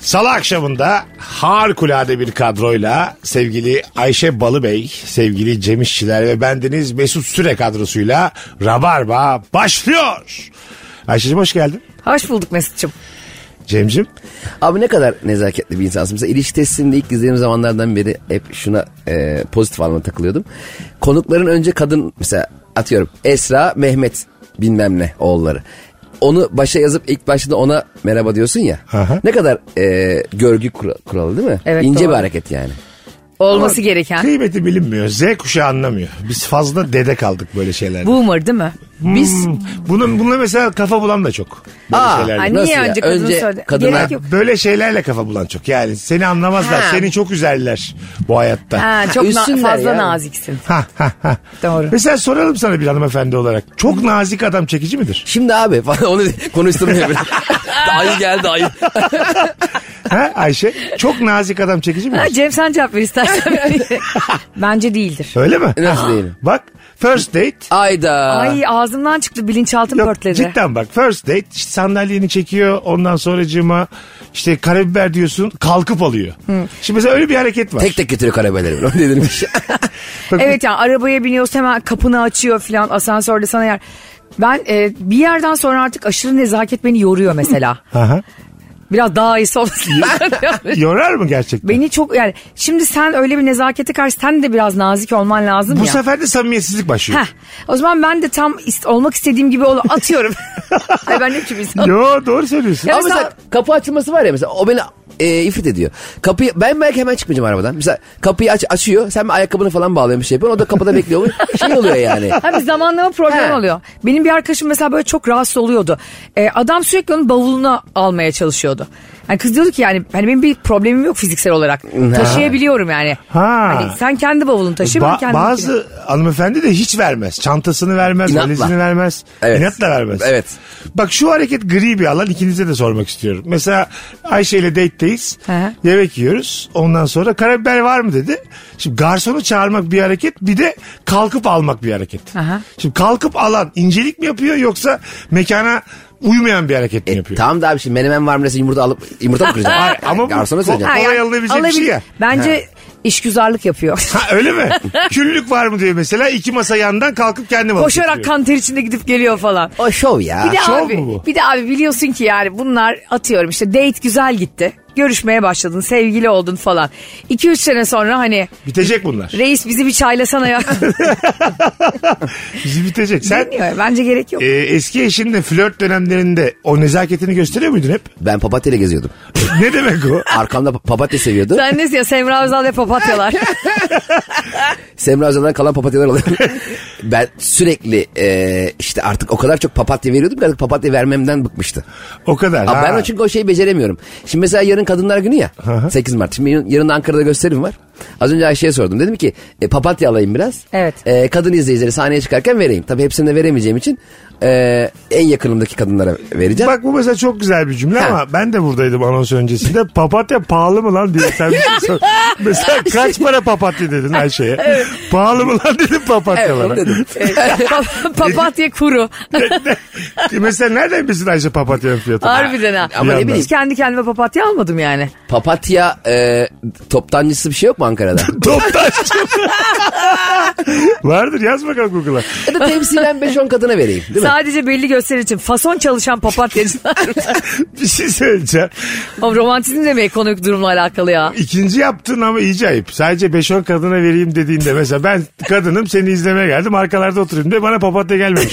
Salı akşamında harikulade bir kadroyla sevgili Ayşe Balıbey, sevgili Cem İşçiler ve bendeniz Mesut Süre kadrosuyla Rabarba başlıyor. Ayşe'cim hoş geldin. Hoş bulduk Mesut'cum. Cem'cim Abi ne kadar nezaketli bir insansın. Mesela ilişki testinde ilk izlediğim zamanlardan beri hep şuna e, pozitif anlamda takılıyordum. Konukların önce kadın mesela atıyorum Esra Mehmet bilmem ne oğulları. Onu başa yazıp ilk başta ona merhaba diyorsun ya. Aha. Ne kadar e, görgü kura- kuralı değil mi? Evet, İnce doğru. bir hareket yani. Olması gereken. kıymeti bilinmiyor. Z kuşağı anlamıyor. Biz fazla dede kaldık böyle şeylerde. Boomer değil mi? Biz... Bunun, bununla mesela kafa bulan da çok. Böyle Aa, şeylerle. Ay, Nasıl niye ya? önce kadını Önce söyle? kadına- Gerek yok. Böyle şeylerle kafa bulan çok. Yani seni anlamazlar. Ha. Seni çok üzerler bu hayatta. Ha, çok na- Üstünler fazla ya. naziksin. Ha, ha, ha. Doğru. Mesela soralım sana bir hanımefendi olarak. Çok nazik adam çekici midir? Şimdi abi falan onu konuşturmuyor beni. ayı geldi ayı. Ha Ayşe? Çok nazik adam çekici Ha, midir? Cem sen cevap ver istersen. Bence değildir. Öyle mi? Nasıl değilim? Bak first date. Ayda. Ay ağzımdan çıktı bilinçaltım Yok, pörtledi. cidden bak first date işte sandalyeni çekiyor ondan sonracığıma işte karabiber diyorsun kalkıp alıyor. Şimdi mesela öyle bir hareket var. Tek tek getiriyor karabeleri. Öyle denilmiş. Bak, Evet yani arabaya biniyorsun hemen kapını açıyor filan asansörde sana yer. Ben e, bir yerden sonra artık aşırı nezaket beni yoruyor mesela. Aha. Biraz daha iyisi olması. Yorar mı gerçekten? beni çok yani şimdi sen öyle bir nezakete karşı sen de biraz nazik olman lazım Bu ya. sefer de samimiyetsizlik başlıyor. Heh, o zaman ben de tam ist- olmak istediğim gibi ol- atıyorum. Ay ben ne biçim insanım. Yo doğru söylüyorsun. Ya Ama mesela kapı açılması var ya mesela o beni e, ifrit ediyor. Kapıyı ben belki hemen çıkmayacağım arabadan. Mesela kapıyı aç, açıyor. Sen bir ayakkabını falan bağlıyormuş şey yapıyorsun. O da kapıda bekliyor. şey oluyor yani. Ha bir zamanlama problem He. oluyor. Benim bir arkadaşım mesela böyle çok rahatsız oluyordu. Ee, adam sürekli onun bavulunu almaya çalışıyordu. Yani kız diyordu ki yani hani benim bir problemim yok fiziksel olarak. Taşıyabiliyorum yani. Ha. Hani sen kendi bavulunu taşı ben Ba- kendim. bazı hanımefendi de hiç vermez. Çantasını vermez, İnatla. valizini vermez. Evet. İnatla vermez. Evet. Bak şu hareket gri bir alan ikinize de sormak istiyorum. Mesela Ayşe ile date'teyiz. Hı hı. Yemek yiyoruz. Ondan sonra karabiber var mı dedi. Şimdi garsonu çağırmak bir hareket bir de kalkıp almak bir hareket. Hı hı. Şimdi kalkıp alan incelik mi yapıyor yoksa mekana uymayan bir hareket mi E, yapıyor? tamam da abi şimdi menemen var mı dese yumurta alıp yumurta mı kıracağım? Hayır, ama bu- Garsona söyleyeceğim. Ha, Kolay alınabilecek bir şey ya. Bence işgüzarlık yapıyor. Ha, öyle mi? Küllük var mı diyor mesela iki masa yandan kalkıp kendim alıp Koşarak getiriyor. kan ter içinde gidip geliyor falan. O şov ya. Bir de şov abi, mu bu? bir de abi biliyorsun ki yani bunlar atıyorum işte date güzel gitti. Görüşmeye başladın, sevgili oldun falan. 2-3 sene sonra hani Bitecek bunlar. reis bizi bir çaylasana ya. Bizi bitecek. Sen Bilmiyorum, Bence gerek E- yok. Ee, eski eşinle flört dönemlerinde o nezaketini gösteriyor muydun hep? Ben papatya geziyordum. ne demek o? Arkamda pa- papatya seviyordu. Sen ne ya Semra Özal ve papatyalar. Semra Özal'dan kalan papatyalar oluyor. ben sürekli e, işte artık o kadar çok papatya veriyordum ki artık papatya vermemden bıkmıştı. O kadar. Abi ha. ben o çünkü o şeyi beceremiyorum. Şimdi mesela yarın Kadınlar Günü ya. hı. 8 Mart. Şimdi yarın- yarın da Ankara'da gösterim var. Az önce Ayşe'ye sordum. Dedim ki e, papatya alayım biraz. Evet. E, kadın izleyicileri sahneye çıkarken vereyim. Tabii hepsini de veremeyeceğim için e, en yakınımdaki kadınlara vereceğim. Bak bu mesela çok güzel bir cümle Ha. ama ben de buradaydım anons öncesinde. Papatya pahalı mı lan diye sen bir şey sor. Mesela kaç para papatya dedin Ayşe'ye? Pahalı mı lan dedim Evet, papatyalara. onu dedim. Pa- papatya kuru. E mesela nereden bilsin Ayşe papatyanın fiyatını? Harbiden ha. Ama Bir ne bileyim Hiç kendi kendime papatya almadım yani. papatya e, toptancısı bir şey yok mu Ankara'da? Toptaşçı. Vardır yaz bakalım Google'a. ya da temsilen 5-10 kadına vereyim değil mi? Sadece belli gösteri için fason çalışan papatyacılar. Bir şey söyleyeceğim. Ama romantizm de mi ekonomik durumla alakalı ya? İkinci yaptığın ama iyice ayıp. Sadece 5-10 kadına vereyim dediğinde mesela ben kadınım seni izlemeye geldim arkalarda oturayım diye bana papatya gelmemiş.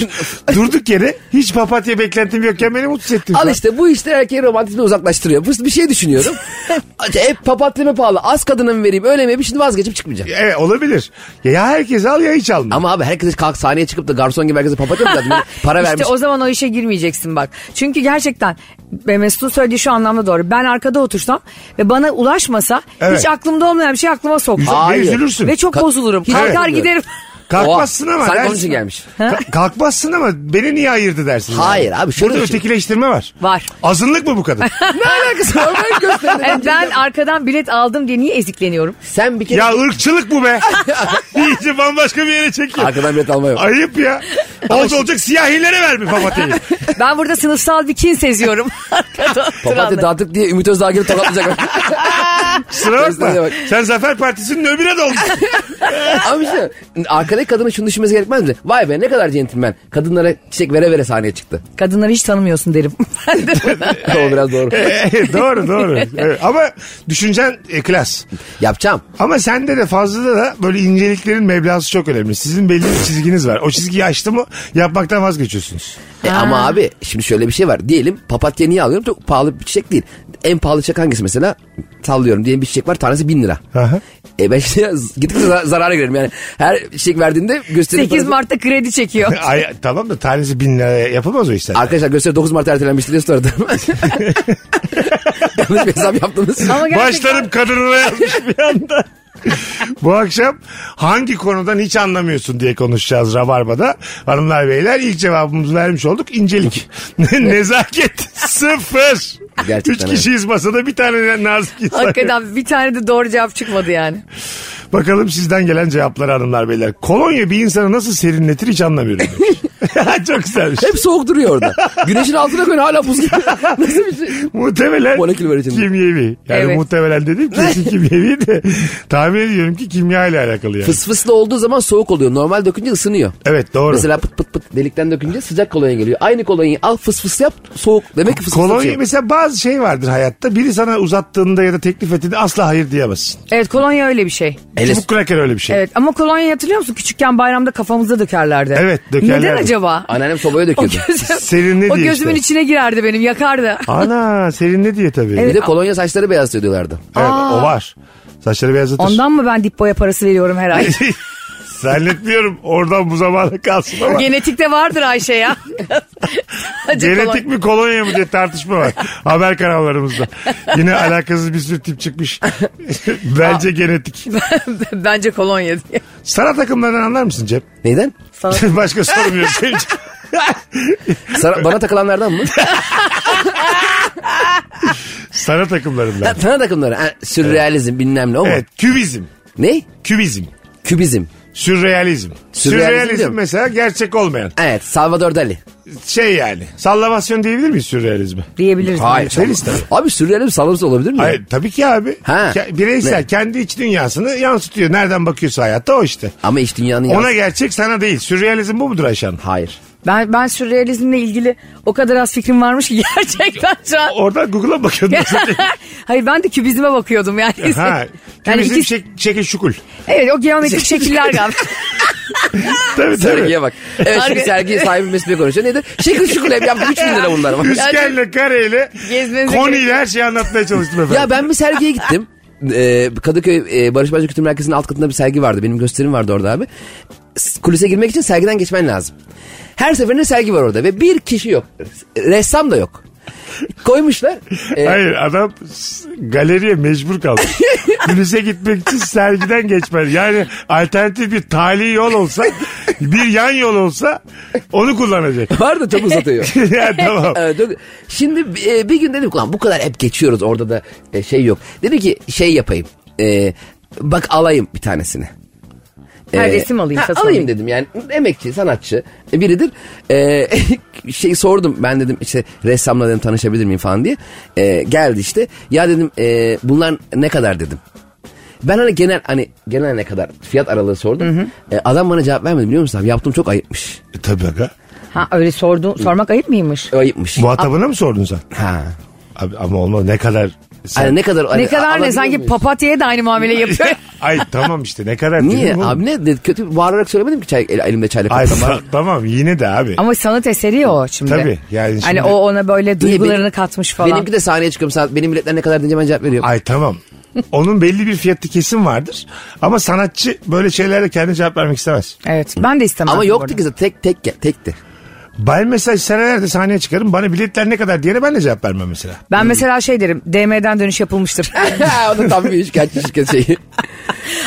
Durduk yere hiç papatya beklentim yokken beni mutsuz ettin. Al işte bu işte erkeği romantizme uzaklaştırıyor. Bu bir şey düşünüyorum. Hep papatya mı pahalı? Az kadına mı vereyim? Öyle mi? yapayım? Şimdi vazgeçip çıkmayacağım. Evet E, olabilir. Ya, ya herkes al ya hiç alma. Ama abi herkes kalk sahneye çıkıp da garson gibi herkese papatya mı zaten? Para İşte vermiş. o zaman o işe girmeyeceksin bak. Çünkü gerçekten e, Mesut'un söylediği şu anlamda doğru. Ben arkada otursam ve bana ulaşmasa Evet. hiç aklımda olmayan bir şey aklıma sokmam. Ne Hayır. üzülürsün. Ve çok Ka- bozulurum. Hiç Kalkar evet. giderim. Kalkmazsın Oha, ama sanki dersin. onun için gelmiş. Ka- kalkmazsın ama beni niye ayırdı dersin. Hayır abi, şöyle Burada düşün. ötekileştirme var. Var. Azınlık mı bu kadın? alakası var? Ben gösterdim. Yani ben arkadan bilet aldım diye niye ezikleniyorum? Sen bir kere... ya ırkçılık bu be. İyice bambaşka bir yere çekiyor. Arkadan bilet alma yok. Ayıp ya. Oldu olacak siyahilere verme papatyayı. Ben burada sınıfsal bir kin seziyorum. Arkadan Papatya oturanlar. dağıttık diye Ümit Özdağ gelip tokatlayacak. Sıra bakma. Gösterine bak. Sen Zafer Partisi'nin öbürüne de olmuşsun. Ama işte arkadaki kadının şunu düşünmesi gerekmez mi? Vay be ne kadar centilmen. Kadınlara çiçek vere vere sahneye çıktı. Kadınları hiç tanımıyorsun derim. Hani Ben de buna- o biraz doğru. doğru doğru. Evet. Ama düşüncen e, klas. Yapacağım. Ama sende de fazla da böyle inceliklerin meblası çok önemli. Sizin belli bir çizginiz var. O çizgiyi aştı mı yapmaktan vazgeçiyorsunuz. E ama abi şimdi şöyle bir şey var. Diyelim papatya niye alıyorum? Çok pahalı bir çiçek değil. En pahalı çiçek hangisi mesela? Sallıyorum diyelim bir çiçek var tanesi bin lira. Aha. E ben şimdi gittikçe zar- zarara girerim yani. Her çiçek verdiğinde gösteri 8 parası- Mart'ta kredi çekiyor. Ay, tamam da tanesi bin liraya yapamaz o işler. Arkadaşlar gösteri 9 Mart ertelenmişti diye story'de. Yanlış bir hesap yaptınız. Ama gerçekten Başlarım kadınına yazmış bir anda. Bu akşam hangi konudan hiç anlamıyorsun diye konuşacağız Rabarba'da. Hanımlar beyler ilk cevabımızı vermiş olduk. İncelik. Ne- Nezaket sıfır. Gerçekten Üç kişiyiz masada bir tane nazik insan. hakikaten bir tane de doğru cevap çıkmadı yani. Bakalım sizden gelen cevapları hanımlar beyler. Kolonya bir insanı nasıl serinletir hiç anlamıyorum. demiş. Çok güzelmiş. Hep soğuk duruyor orada. Güneşin altına koyun hala buz gibi. Nasıl bir şey? Muhtemelen Molekül var içinde. kimyevi. Yani Evet. muhtemelen dedim kesin kimyevi de tahmin ediyorum ki kimya ile alakalı yani. Fıs fıslı olduğu zaman soğuk oluyor. Normal dökünce ısınıyor. Evet doğru. Mesela pıt pıt pıt delikten dökünce sıcak kolonya geliyor. Aynı kolonyayı al fıs fıs yap soğuk. Demek ki fıs fıs Kolonya atıyor. mesela bazı şey vardır hayatta. Biri sana uzattığında ya da teklif ettiğinde asla hayır diyemezsin. Evet kolonya öyle bir şey. Hele- Çubuk kraker öyle bir şey. Evet ama kolonya hatırlıyor musun? Küçükken bayramda kafamıza dökerlerdi. Evet, dökerlerdi. Neden acaba? Anneannem sobaya O, döküyordu. gözüm, Serin ne o diye gözümün işte. içine girerdi benim yakardı. Ana serin ne diye tabii. Bir de kolonya saçları beyazlıyor diyorlardı. Evet, o var. Saçları beyazlatır. Ondan mı ben dipboya parası veriyorum her ay? Zannetmiyorum oradan bu zamana kalsın ama. Genetikte vardır Ayşe ya. Acı Genetik kolonya. mi kolonya mı diye tartışma var. Haber kanallarımızda. Yine alakasız bir sürü tip çıkmış. Bence genetik. Bence kolonya diye. Sana takımlardan anlar mısın Cem? Neyden? Başka sorum yok. Cem. Sana- bana takılanlardan mı? Sana takımlarından. Ha, Sana takımları. Ha, sürrealizm bilmem ne o mu? Evet kübizm. Ne? Kübizm. Kübizm. Sürrealizm. Sürrealizm diyor Sürrealizm mu? mesela gerçek olmayan. Evet Salvador Dali. Şey yani. Sallamasyon diyebilir miyiz sürrealizme? Diyebiliriz. Deriz tabii. Abi sürrealizm salvador olabilir mi? Hayır, tabii ki abi. Ha. Ke- Bireysel kendi iç dünyasını yansıtıyor. Nereden bakıyorsa hayatta o işte. Ama iş dünyanın Ona yansı- gerçek sana değil. Sürrealizm bu mudur Ayşe Hanım? Hayır. Ben, ben sürrealizmle ilgili o kadar az fikrim varmış ki gerçekten şu an. Oradan Google'a bakıyordum. Hayır ben de kübizme bakıyordum yani. şey- ha. yani Kübizm şey- iki- şek- şekil şukul. Evet o geometrik şekiller galiba. Tabii tabii. Sergiye bak. Evet şimdi Harbi. sergiye sahibi Mesut Bey konuşuyor. Nedir? Şekil şukul hep yaptı. 3 bin lira bunlar. var. Üçgenle kareyle Gezmenize gerek konuyla her şeyi anlatmaya çalıştım efendim. Ya ben bir sergiye gittim. Ee, Kadıköy e, Barış Manço Kültür Merkezi'nin alt katında bir sergi vardı. Benim gösterim vardı orada abi. S- Kulise girmek için sergiden geçmen lazım. Her seferinde sergi var orada ve bir kişi yok. Ressam da yok. Koymuşlar. Ee, Hayır adam s- galeriye mecbur kaldı. Kulise gitmek için sergiden geçmeli. Yani alternatif bir tali yol olsa bir yan yol olsa onu kullanacak. var da çok uzatıyor. ya tamam. Evet, dur. Ee, Şimdi e, bir gün dedim ulan bu kadar hep geçiyoruz orada da e, şey yok. Dedim ki şey yapayım. E, bak alayım bir tanesini. Ha, Ee, resim alayım, ha, satın alayım alayım. dedim yani emekçi sanatçı e, biridir. Ee, şey sordum ben dedim işte ressamla dedim tanışabilir miyim falan diye. Ee, geldi işte ya dedim e, bunlar ne kadar dedim. Ben hani genel hani genel ne kadar fiyat aralığı sordum. Ee, adam bana cevap vermedi biliyor musun abi yaptım çok ayıpmış. E, tabii aga. Ha öyle sordu, sormak ayıp mıymış? Ayıpmış. Muhatabına mı sordun sen? Ha. Abi, ama olmaz ne kadar sen... Hani ne kadar hani Ne kadar alabiliyor ne sanki muyuz? papatyaya da aynı muamele yapıyor. Ay tamam işte ne kadar Niye dedim oğlum. abi ne dedi, kötü bağırarak söylemedim ki çay, el- elimde çayla Ay kapsam var. ta- tamam yine de abi. Ama sanat eseri ya o şimdi. Tabii, yani şimdi- Hani o ona böyle Niye, duygularını benim- katmış falan. Benimki de sahneye çıkıyorum saat benim biletler ne kadar deyince ben cevap veriyorum. Ay tamam. Onun belli bir fiyatı kesim vardır. Ama sanatçı böyle şeylerle kendi cevap vermek istemez. Evet ben de istemem. Ama yoktu ki zaten tek tek tekti. Ben mesela senelerde sahneye çıkarım. Bana biletler ne kadar diyene ben de cevap vermem mesela. Ben mesela şey derim DM'den dönüş yapılmıştır. o da tam bir işkence şirket şeyi.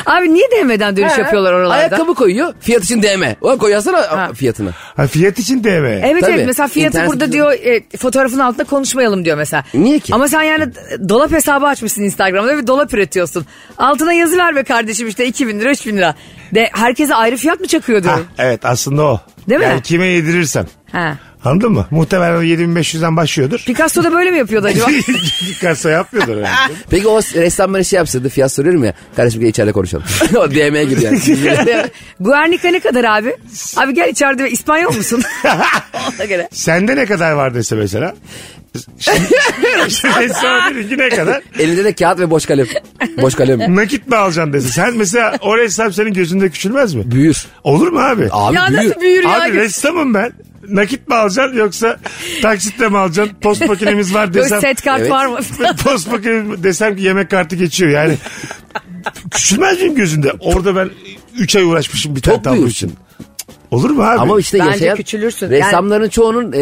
Abi niye DM'den dönüş Ha, yapıyorlar oralarda? Ayakkabı koyuyor. Fiyat için DM. Ulan koyarsana a- fiyatını. Ha, fiyat için de mi? Evet Tabii. evet mesela fiyatı İnternet burada diyor e, fotoğrafın altında konuşmayalım diyor mesela. Niye ki? Ama sen yani d- dolap hesabı açmışsın Instagram'da ve dolap üretiyorsun. Altına yazı ver be kardeşim işte 2000 lira 3000 lira. De herkese ayrı fiyat mı çakıyor diyor. Ha, evet aslında o. Değil mi? Yani kime yedirirsem. Ha. Anladın mı? Muhtemelen o 7500'den başlıyordur. Picasso da böyle mi yapıyordu acaba? Kasa yapmıyordur herhalde. Peki o ressam bana şey yapsaydı fiyat soruyorum ya. Kardeşim gel içeride konuşalım. o DM'ye gidiyor. Yani. Guernica ne kadar abi? Abi gel içeride İspanyol musun? Ona göre. Sende ne kadar var dese mesela. Şimdi, şimdi sana dedi ki ne kadar? Elinde de kağıt ve boş kalem. Boş kalem. Nakit mi alacaksın dese. Sen mesela o ressam senin gözünde küçülmez mi? Büyür. Olur mu abi? Abi ya büyür. nasıl büyür Abi ya? ressamım ben. Nakit mi alacaksın yoksa taksitle mi alacaksın? Post makinemiz var Böyle desem. set kart Evet. var mı? post makinemiz desem ki yemek kartı geçiyor yani. Küçülmez miyim gözünde? Orada ben 3 ay uğraşmışım bir tane Çok tablo büyürsün. için. Olur mu abi? Ama işte Bence yaşayan küçülürsün. ressamların çoğunun e,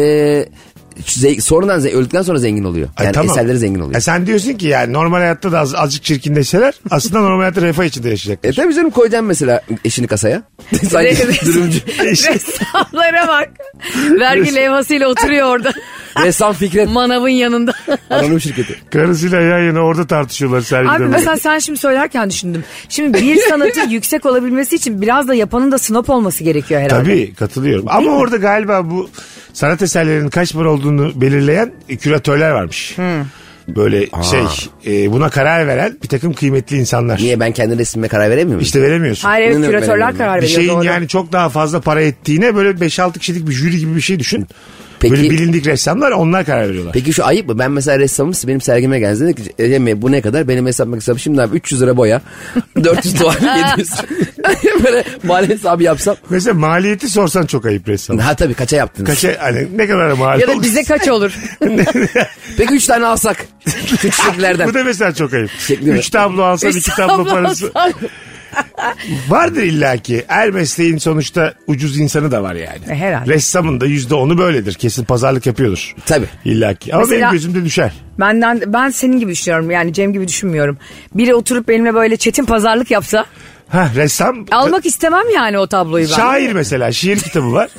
ze- sonradan ze- öldükten sonra zengin oluyor. Ay Yani tamam. eserleri zengin oluyor. E sen diyorsun ki yani normal hayatta da az, azıcık çirkinleşseler aslında normal hayatta refah içinde yaşayacak. e tabii canım koyacaksın mesela eşini kasaya. Sanki durumcu. Ressamlara bak. Vergi levhasıyla oturuyor orada. Ressam Fikret. Manavın yanında. Anonim şirketi. Karısıyla yan yana orada tartışıyorlar sergide. Abi böyle. mesela sen şimdi söylerken düşündüm. Şimdi bir sanatın yüksek olabilmesi için biraz da yapanın da snob olması gerekiyor herhalde. Tabii katılıyorum. Ama orada galiba bu sanat eserlerinin kaç para olduğunu belirleyen e, küratörler varmış. Hmm. Böyle şey e, buna karar veren bir takım kıymetli insanlar. Niye ben kendi resmime karar veremiyorum? İşte veremiyorsun. Hayır evet Ne- ne- küratörler ne- karar bir veriyor. şeyin doğru. yani çok daha fazla para ettiğine böyle 5-6 kişilik bir jüri gibi bir şey düşün. Peki- Böyle bilindik ressamlar onlar karar veriyorlar. Peki şu ayıp mı? Ben mesela ressamım benim sergime geldi. Dedi ki Ecem Bey, bu ne kadar? Benim hesap hesabım şimdi abi 300 lira boya. 400 dolar 700. Böyle mali hesabı yapsam. Mesela maliyeti sorsan çok ayıp ressam. Ha tabii kaça yaptınız? Kaça hani ne kadar maliyet? Ya da bize kaç olur? Peki 3 tane alsak. Küçüklerden. Bu da mesela çok ayıp. Şekli mi? Üç tablo alsan Üç iki tablo tablo parası. alsan. Vardır illaki. Her mesleğin sonuçta ucuz insanı da var yani. E, herhalde. Ressamın da yüzde onu böyledir. Kesin pazarlık yapıyordur. Tabii. İllaki. Ama Mesela- benim gözümde düşer. Benden ben senin gibi düşünüyorum. Yani Cem gibi düşünmüyorum. Biri oturup benimle böyle çetin pazarlık yapsa Ha ressam. almak istemem yani o tabloyu ben. Şair mesela. Şiir kitabı var.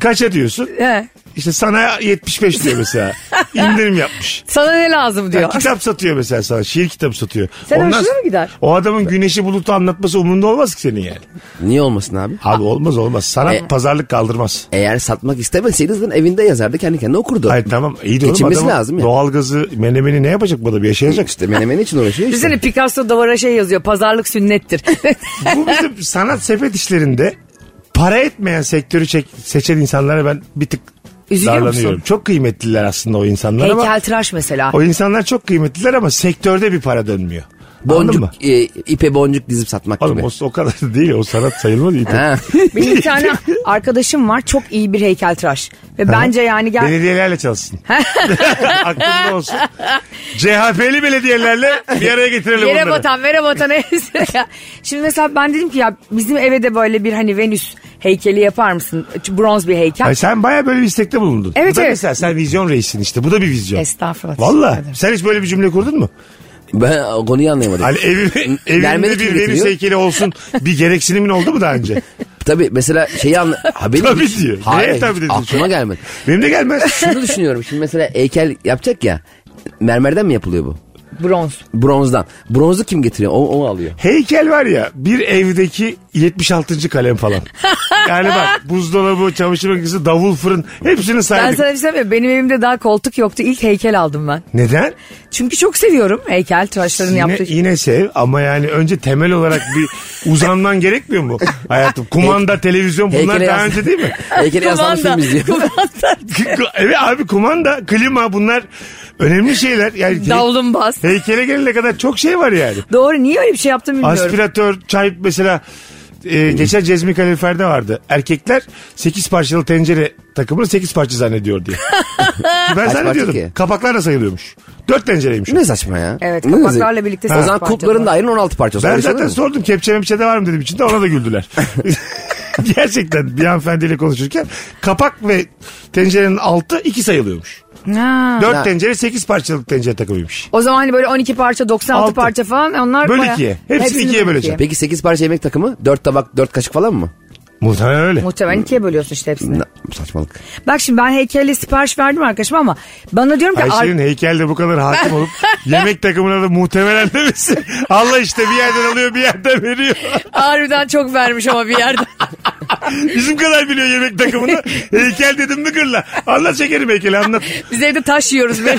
Kaça diyorsun? He. İşte sana 75 diyor mesela. İndirim yapmış. Sana ne lazım Ya, diyor. kitap satıyor mesela sana. Şiir kitabı satıyor. Sen hoşuna mı gider? O adamın güneşi bulutu anlatması umurunda olmaz ki senin yani. Niye olmasın abi? Ah. Abi olmaz olmaz. Sanat E- pazarlık kaldırmaz. Eğer satmak istemeseydiniz lan evinde yazardı kendi kendine okurdu. Hayır tamam iyi de oğlum Geçinmesi adamın lazım ya. doğalgazı menemeni ne yapacak bu adam yaşayacak. İşte menemen için uğraşıyor işte. Düşünsene Picasso duvara şey yazıyor. Pazarlık sünnettir. bu bizim sanat sepet işlerinde para etmeyen sektörü çek- seçen insanlara ben bir tık Üzülüyor musun? darlanıyorum. Çok kıymetliler aslında o insanlar ama Heykeltıraş mesela. o insanlar çok kıymetliler ama sektörde bir para dönmüyor. Anladın mı? Boncuk, e, ipe boncuk dizip satmak Oğlum gibi. o, o kadar da değil o sanat sayılmaz. Ha. Benim bir tane arkadaşım var çok iyi bir heykeltıraş. Ve bence yani gel... Belediyelerle çalışsın. Aklında olsun. CHP'li belediyelerle bir araya getirelim Yere onları. batan, vere batan neyse ya. Şimdi mesela ben dedim ki ya bizim eve de böyle bir hani Venüs heykeli yapar mısın? Şu Bronz bir heykel. Ay sen baya böyle bir istekte bulundun. Evet, Bu da evet. mesela sen vizyon reisin işte. Bu da bir vizyon. Estağfurullah. Valla. teşekkür ederim. Sen hiç böyle bir cümle kurdun mu? Ben o konuyu anlayamadım. Hani evi, evimde Vermedik mi bir Venüs getiriyor? heykeli olsun bir gereksinimin oldu mu daha önce? Tabii mesela şeyi anla... Ha, benim Tabii hiç- diyor. Hayır, Neye tabii hiç dedin şu aklıma an? gelmedi. Benim de gelmez. Şunu düşünüyorum şimdi mesela heykel yapacak ya. Mermerden mi yapılıyor bu? Bronz. Bronzdan. Bronzu kim getiriyor? O, o alıyor. Heykel var ya bir evdeki 76. kalem falan. Yani bak buzdolabı, çamaşır makinesi, davul, fırın hepsini Ben saydık. sana bir şey söyleyeyim mi? Benim evimde daha koltuk yoktu. İlk heykel aldım ben. Neden? Çünkü çok seviyorum heykel tıraşların Yine, yaptığı. şey. yine sev ama yani önce temel olarak bir uzanman gerekmiyor mu? Hayatım kumanda, televizyon bunlar Heykele daha yaz- önce değil mi? Heykele yazılan film izliyor. kumanda, evet abi kumanda, klima bunlar önemli şeyler. Yani he- davulun bas. heykele gelene kadar çok şey var yani. Doğru niye öyle bir şey yaptım bilmiyorum. Aspiratör, çay mesela e, geçen Cezmi Kalorifer'de vardı. Erkekler 8 parçalı tencere takımını 8 parça zannediyor diye. ben ki? zannediyordum. Kapaklar da sayılıyormuş. 4 tencereymiş. Ne saçma ya. Evet, Ne kapaklarla saçma? birlikte O sekiz zaman parça kulpların var. da ayrı 16 parçası. Ben Öyle şey zaten olur mu? sordum kepçe mepçe de var mı dedim içinde ona da güldüler. Gerçekten bir hanımefendiyle konuşurken kapak ve tencerenin altı iki sayılıyormuş. Ha. Dört tencere sekiz parçalık tencere takımıymış. O zaman hani böyle 12 parça 96 Altı. parça falan e, onlar Böl bayağı- ikiye. Hepsini ikiye böl böleceğim. ikiye. Peki 8 parça yemek takımı 4 tabak 4 kaşık falan mı? Muhtemelen öyle. Muhtemelen ikiye bölüyorsun işte hepsini. Na- saçmalık. Bak şimdi ben heykelle sipariş verdim arkadaşım ama bana diyorum ki ar- Ayşe'nin heykelde bu kadar hakim olup yemek takımına da muhtemelen demesi. Allah işte bir yerden alıyor bir yerden veriyor. harbiden çok vermiş ama bir yerde. Bizim kadar biliyor yemek takımını. Heykel dedim mi gırla. Anlat şekerim heykeli anlat. Biz evde taş yiyoruz böyle.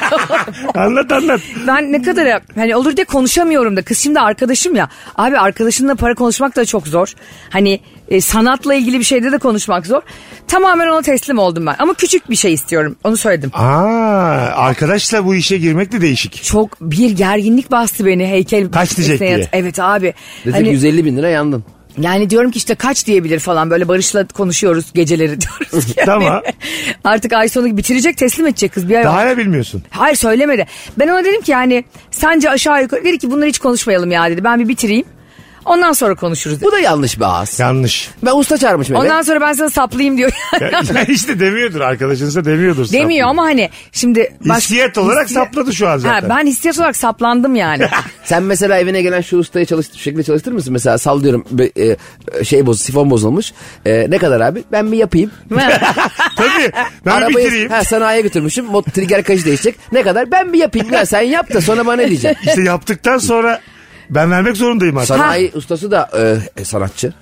Anlat anlat. ben ne kadar hani olur diye konuşamıyorum da kız şimdi arkadaşım ya. Abi arkadaşınla para konuşmak da çok zor. Hani e, sanatla ilgili bir şeyde de konuşmak zor. Tamamen ona teslim oldum ben. Ama küçük bir şey istiyorum. Onu söyledim. Aa, arkadaşla bu işe girmek de değişik. Çok bir gerginlik bastı beni heykel. Kaç diyecek esneye- diye. Evet abi. Dedik Hani- 150 bin lira yandın. Yani diyorum ki işte kaç diyebilir falan böyle Barış'la konuşuyoruz geceleri diyoruz ki. Tamam. hani Artık ay sonu bitirecek teslim edecek kız bir ay Daha ne bilmiyorsun? Hayır söylemedi. Ben ona dedim ki yani sence aşağı yukarı dedi ki bunları hiç konuşmayalım ya dedi. Ben bir bitireyim. Ondan sonra konuşuruz dedi. Bu da yanlış bir ağız. Yanlış. Ben usta çağırmışım eve. Ondan sonra ben sana saplayayım diyor. Ya, ya işte demiyordur arkadaşınıza demiyordur. Demiyor ama hani şimdi. baş- Hissiyat olarak hissi- sapladı şu an zaten. Ha, ben hissiyat olarak saplandım yani. Sen mesela evine gelen şu ustayı çalış, şu şekilde çalıştırır mısın? Mesela sallıyorum be- e, şey boz, sifon bozulmuş. E, ne kadar abi? Ben bir yapayım. Tabii. Ben Arabayı- bitireyim. Ha, sanayiye götürmüşüm. Mot, trigger kayışı değişecek. Ne kadar? Ben bir yapayım. Ya sen yap da sonra bana ne diyeceksin? İşte yaptıktan sonra ben vermek zorundayım artık. Sanayi ustası da e, sanatçı.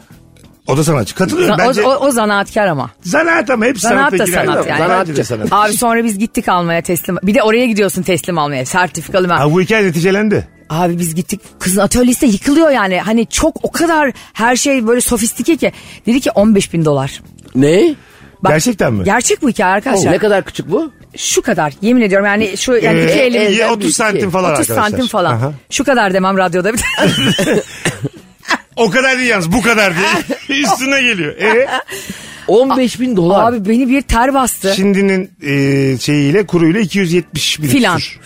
O da sanatçı. Katılıyorum. o, Bence o, o zanaatkar ama. zanaat ama hepsi Zanaat sanata da girer. sanat yani. Bence de sanat. Abi sonra biz gittik almaya teslim. Bir de oraya gidiyorsun teslim almaya. Sertifikalı ben. Ha, bu hikaye neticelendi. Abi biz gittik kızın atölyesi de yıkılıyor yani. Hani çok o kadar her şey böyle sofistike ki. Dedi ki 15 bin dolar. Ne? Bak- Gerçekten mi? Gerçek bu hikaye arkadaşlar. Ne kadar küçük bu? Şu kadar yemin ediyorum yani şu yani Ee, iki e, elimizden elden bir 30 iki. santim falan 30 arkadaşlar. şey. santim falan. Aha. Şu kadar demem radyoda bir de. O kadar değil yalnız bu kadar değil. Üstüne geliyor. E, 15 bin dolar. Abi beni bir ter bastı. şimdinin e, şeyiyle kuruyla 270 bin Filan. küsür.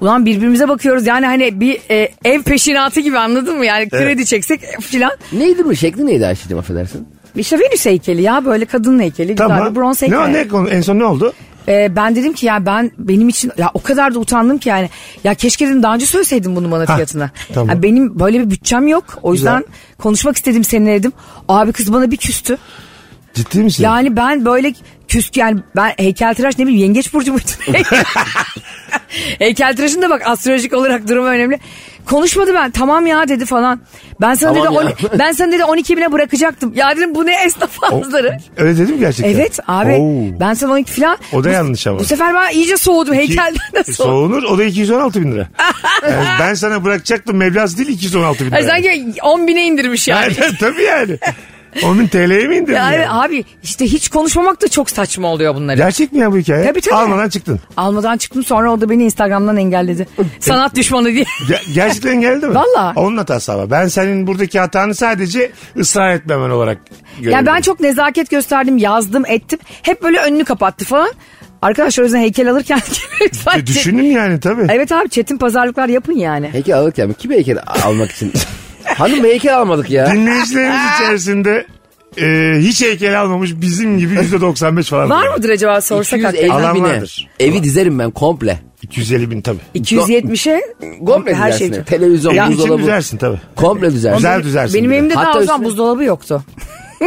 Ulan birbirimize bakıyoruz yani hani bir e, ev peşinatı gibi anladın mı? Yani kredi çeksek e, filan. Neydi bu? Şekli neydi Ayşe'cim affedersin? İşte Venüs heykeli ya böyle kadın heykeli güzel Tamam. bir bronz heykeli. Ne, ne, konu- en son ne oldu? Ee, ben dedim ki ya ben benim için ya o kadar da utandım ki yani ya keşke dedim daha önce söyleseydin bunu bana Ha, fiyatını. tamam. Ya benim böyle bir bütçem yok. O yüzden konuşmak istedim seninle dedim. Abi kız bana bir küstü. Ciddi misin? Yani ben böyle küstü yani ben heykeltıraş ne bileyim yengeç burcu muydu? heykeltıraşın da bak astrolojik olarak durumu önemli. Konuşmadı ben tamam ya dedi falan. Ben sana Tamam dedi ya. on- ben sana dedi 12 bine bırakacaktım. Ya dedim bu ne esnaf ağızları. Öyle dedim gerçekten. Evet abi Oo. ben sana 12 falan. O da Bu- yanlış ama. Bu sefer ben iyice soğudum İki- heykelden de soğudum. E, Soğunur o da 216 bin lira. Yani ben sana bırakacaktım meblası değil 216 bin lira. Ay, sanki 10 bine indirmiş yani. Aynen, tabii yani. 10 bin TL'ye mi indirdin? yani yani? abi işte hiç konuşmamak da çok saçma oluyor bunları. Gerçek mi ya bu hikaye? Tabii, tabii. Almadan çıktın. Almadan çıktım sonra o da beni Instagram'dan engelledi. Sanat düşmanı diye. Ge- gerçekten geldi mi? Valla. Onun hatası ama. Ben senin buradaki hatanı sadece ısrar etmemen olarak görüyorum. E, Ya ben çok nezaket gösterdim, yazdım, ettim. Hep böyle önünü kapattı falan. Arkadaşlar o yüzden heykel alırken lütfen. E, düşünün yani tabii. Evet abi çetin pazarlıklar yapın yani. Heykel alırken kim heykel almak için? Hanım heykel almadık ya. Dinleyicilerimiz içerisinde e, hiç heykel almamış bizim gibi %95 falan. Var mıdır acaba sorsak 250 hakikaten? Alan bine. vardır. Evi dizerim ben komple. 250 bin tabii. 270'e Komple her şey. düzersin. Televizyon, Evin için buzdolabı. düzersin tabii. Komple düzersin. Güzel düzersin. Benim bir de. evimde daha Hatta o zaman üstüne- buzdolabı yoktu.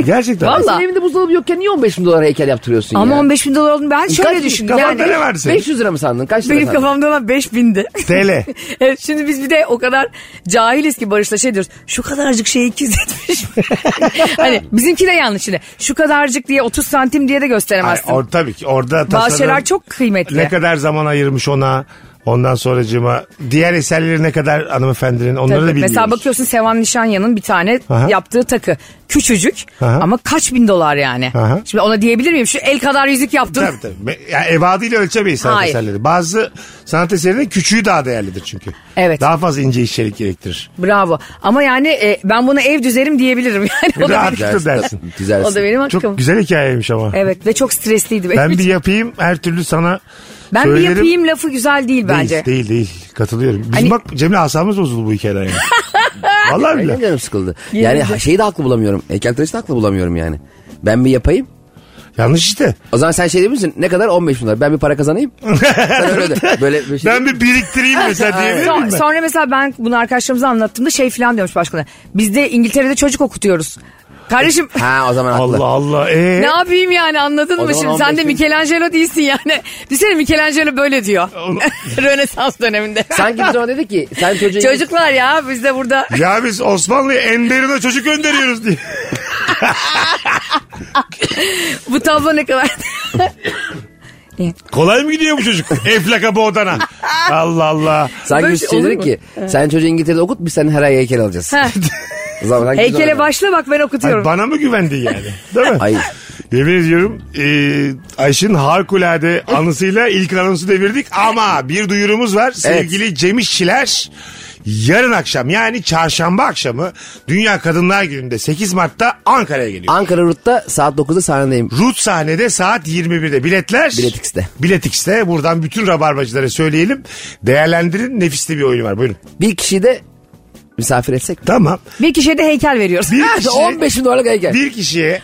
Gerçekten. Vallahi. Senin evinde buzdolabı yokken niye 15 bin dolar heykel yaptırıyorsun Ama ya? 15 bin dolar olduğunu ben şöyle Kaç- düşündüm. kafanda Yani ne vardı senin? 500 lira mı sandın? Kaç lira benim sandın? kafamda olan 5 bindi. TL. evet, şimdi biz bir de o kadar cahiliz ki Barış'la şey diyoruz. Şu kadarcık şey 270 mi? hani bizimki de yanlış şimdi. Şu kadarcık diye 30 santim diye de Ay, gösteremezsin. or, tabii ki orada tasarım. Bazı şeyler çok kıymetli. Ne kadar zaman ayırmış ona. Ondan sonracığıma diğer eserleri ne kadar hanımefendinin onları da Tabii. bilmiyoruz. Mesela bakıyorsun Sevan Nişanya'nın bir tane Aha. yaptığı takı. Küçücük Aha. ama kaç bin dolar yani. Aha. Şimdi ona diyebilir miyim? Şu el kadar yüzük yaptın. Tabii tabii. Me- Yani evadıyla ölçemeyiz sanat Hayır. eserleri. Bazı sanat eserlerinin küçüğü daha değerlidir çünkü. Evet. Daha fazla ince işçilik gerektirir. Bravo. Ama yani e, ben buna ev düzerim diyebilirim. Yani o da, Rahat. benim, Düzersin. dersin. Düzersin. o da benim hakkım. Çok güzel hikayeymiş ama. Evet ve çok stresliydi benim Ben bir için. yapayım her türlü sana Ben bir söylerim. yapayım lafı güzel değil Değil, bence. Değil değil katılıyorum. Bizim Hani- bak Cem'le asabımız bozuldu bu hikayeden yani. Vallahi Aynen bile. canım sıkıldı. Yani ha- şeyi de haklı bulamıyorum. Heykeltıraşı da haklı bulamıyorum yani. Ben bir yapayım. Yanlış işte. O zaman sen şey diyebilir misin? Ne kadar? 15 bin dolar. Ben bir para kazanayım. sen öyle de. Böyle bir şey. Ben bir biriktireyim mesela diyebilir Son- miyim ben? Ee, sonra mesela ben bunu arkadaşlarımıza anlattığımda şey falan diyormuş başkaları. Biz de İngiltere'de çocuk okutuyoruz. Kardeşim E, Ha o zaman haklı. Allah Allah. Ee, ne yapayım yani anladın O mı zaman şimdi? Sen de 15 bin. Michelangelo değilsin yani. Düşünsene Michelangelo böyle diyor. Rönesans döneminde. Sanki biz ona dedi ki sen çocuğu... Çocuklar ya biz de burada. ya biz Osmanlı'ya Enderun'a çocuk gönderiyoruz diye. Bu tablo ne kadar... Kolay mı gidiyor bu çocuk? Eflaka bu odana. Allah Allah. Sanki Böyle biz şey şey olur dedik mu? ki sen çocuğu İngiltere'de okut biz senin her ay heykel alacağız. Ha, O zaman sanki biz Heykele ona- başla bak ben okutuyorum. Ay, bana mı güvendi yani? Değil mi? Hayır. Yemin ediyorum e, Ayşin harikulade anısıyla ilk anonsu devirdik ama bir duyurumuz var. Sevgili Cem İşçiler yarın akşam yani çarşamba akşamı Dünya Kadınlar Günü'nde 8 Mart'ta Ankara'ya geliyor. Ankara Rut'ta saat 9'da sahnedeyim. Rut sahnede saat 21'de biletler. Bilet X'te. Bilet X'te. Buradan bütün rabarbacılara söyleyelim. Değerlendirin. Nefisli bir oyunu var. Buyurun. Bir kişiyi de misafir etsek. Tamam. Bir kişiye de heykel veriyoruz. Bir Ha, kişi- 15 bin dolarlık heykel. bir kişiye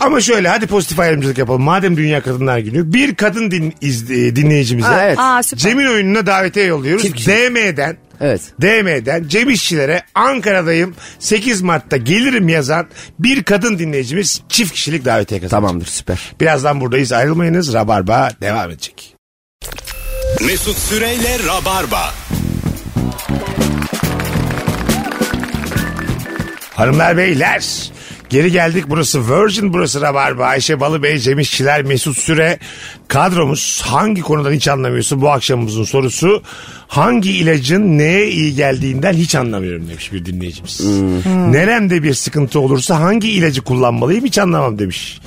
ama şöyle hadi pozitif ayrımcılık yapalım. Madem Dünya Kadınlar Günü bir kadın din, iz- e, dinleyicimize Ha, evet. Aa süper. Cem'in oyununa davetiye yolluyoruz. Çift kişi. DM'den Evet. DM'den Cem İşçilere Ankara'dayım 8 Mart'ta gelirim yazan bir kadın dinleyicimiz çift kişilik davetiye kazanacak. Tamamdır süper. Birazdan buradayız ayrılmayınız. Rabarba devam edecek. Mesut Süreyle Rabarba. Hanımlar beyler geri geldik burası Virgin burası Rabarba Ayşe Balıbey Cem İşçiler Mesut Süre kadromuz hangi konudan hiç anlamıyorsun bu akşamımızın sorusu hangi ilacın neye iyi geldiğinden hiç anlamıyorum demiş bir dinleyicimiz. Neremde bir sıkıntı olursa hangi ilacı kullanmalıyım hiç anlamam demiş.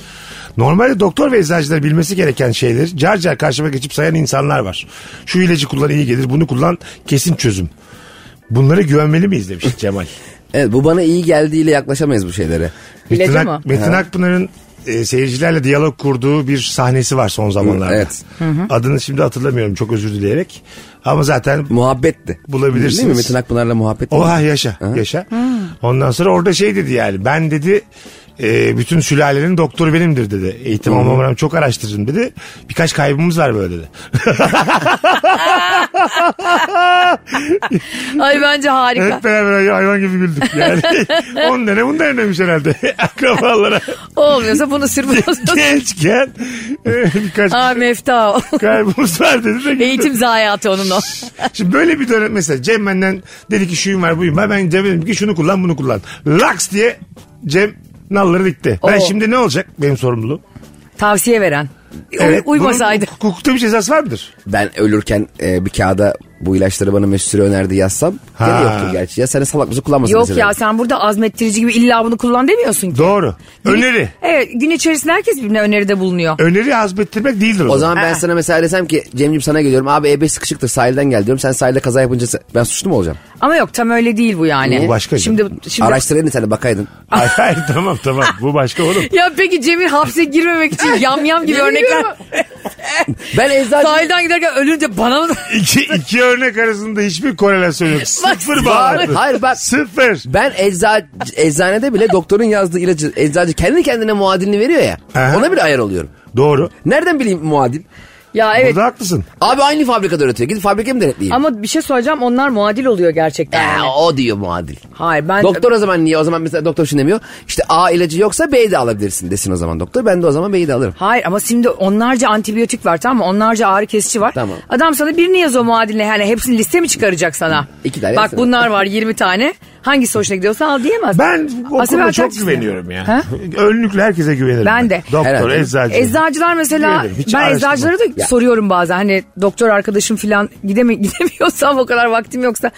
Normalde doktor ve eczacılar bilmesi gereken şeyleri car car karşıma geçip sayan insanlar var. Şu ilacı kullan iyi gelir bunu kullan kesin çözüm. Bunlara güvenmeli miyiz demiş Cemal. Evet bu bana iyi geldiğiyle yaklaşamayız bu şeylere. Metin, İlacı Ak- mı? Metin Akpınar'ın e, seyircilerle diyalog kurduğu bir sahnesi var son zamanlarda. Evet. Adını şimdi hatırlamıyorum çok özür dileyerek. Ama zaten Muhabbetti. Bulabilirsiniz. Değil mi? Metin Akpınar'la muhabbet. oha yaşa yaşa. Ondan sonra orada şey dedi yani ben dedi e, bütün sülalenin doktoru benimdir dedi. Eğitim almama rağmen çok araştırdım dedi. Birkaç kaybımız var böyle dedi. Ay bence harika. Hep beraber hayvan gibi güldük yani. 10 tane bunu denemiş herhalde akrabalara. Olmuyorsa bunu sür. Gençken e, birkaç Aa mefta. o. kaybımız var dedi. de güldük. Eğitim zayiatı onun o. Şimdi böyle bir dönem mesela Cem benden dedi ki şuyum var buyum var. Ben Cem dedim ki şunu kullan bunu kullan. Laks diye Cem nalları dikti. Ben Oo. şimdi ne olacak benim sorumluluğum? Tavsiye veren. Uy- bunun uymasaydı. hukuk- hukukta bir cezası var mıdır? Ben ölürken e, bir kağıda bu ilaçları bana Mesut Süre önerdi yazsam. Ha. Gene yoktur gerçi. Ya sen de salak mısın kullanmasın Yok mesela. ya sen burada azmettirici gibi illa bunu kullan demiyorsun ki. Doğru. Öneri. Evet gün içerisinde herkes birbirine öneride bulunuyor. Öneri hazmettirmek değildir o, O zaman ben Aa. sana mesela desem ki Cem'ciğim sana geliyorum. Abi E5 sıkışıktır sahilden gel diyorum. Sen sahilde kaza yapınca se- ben suçlu mu olacağım? Ama yok tam öyle değil bu yani. Bu başka şey. Şimdi, şimdi... Araştıraydın sen de bakaydın. Hayır, hayır tamam tamam bu başka oğlum. Ya peki Cemil hapse girmemek için yamyam gibi örnekler. Ben eczacı... Sahilden giderken ölünce bana mı? İki, iki örnek arasında hiçbir korelasyon yok. Sıfır bağlı. Hayır bak Sıfır. ben eczacı, eczanede bile doktorun yazdığı ilacı eczacı kendi kendine muadilini veriyor ya. Aha. Ona bile ayar oluyorum. Doğru. Nereden bileyim muadil? Ya evet Burada haklısın. Abi aynı fabrikada üretiyor. Gidip fabrikaya mı denetleyeyim? ama bir şey söyleyeceğim onlar muadil oluyor gerçekten. Ee, yani. o diyor muadil. Hayır ben... Doktor o zaman niye? O zaman mesela doktor şunu demiyor. İşte A ilacı yoksa B'yi de alabilirsin desin o zaman doktor. Ben de o zaman B'yi de alırım. Hayır ama şimdi onlarca antibiyotik var tamam mı? Onlarca ağrı kesici var. Tamam. Adam sana birini yaz o muadiline. Yani hepsini liste mi çıkaracak sana? İki tane Bak yazsana. bunlar var 20 tane. Hangisi hoşuna gidiyorsa al diyemez. Ben o Aslında konuda ben çok taksiyim. güveniyorum ya. Ha? Önlükle herkese güvenirim. Ben de. Doktor, Herhalde. eczacı. Eczacılar mesela Güvenirim, hiç ben araştırma. eczacılara da Ya. soruyorum bazen hani doktor arkadaşım falan gideme, gidemiyorsam o kadar vaktim yoksa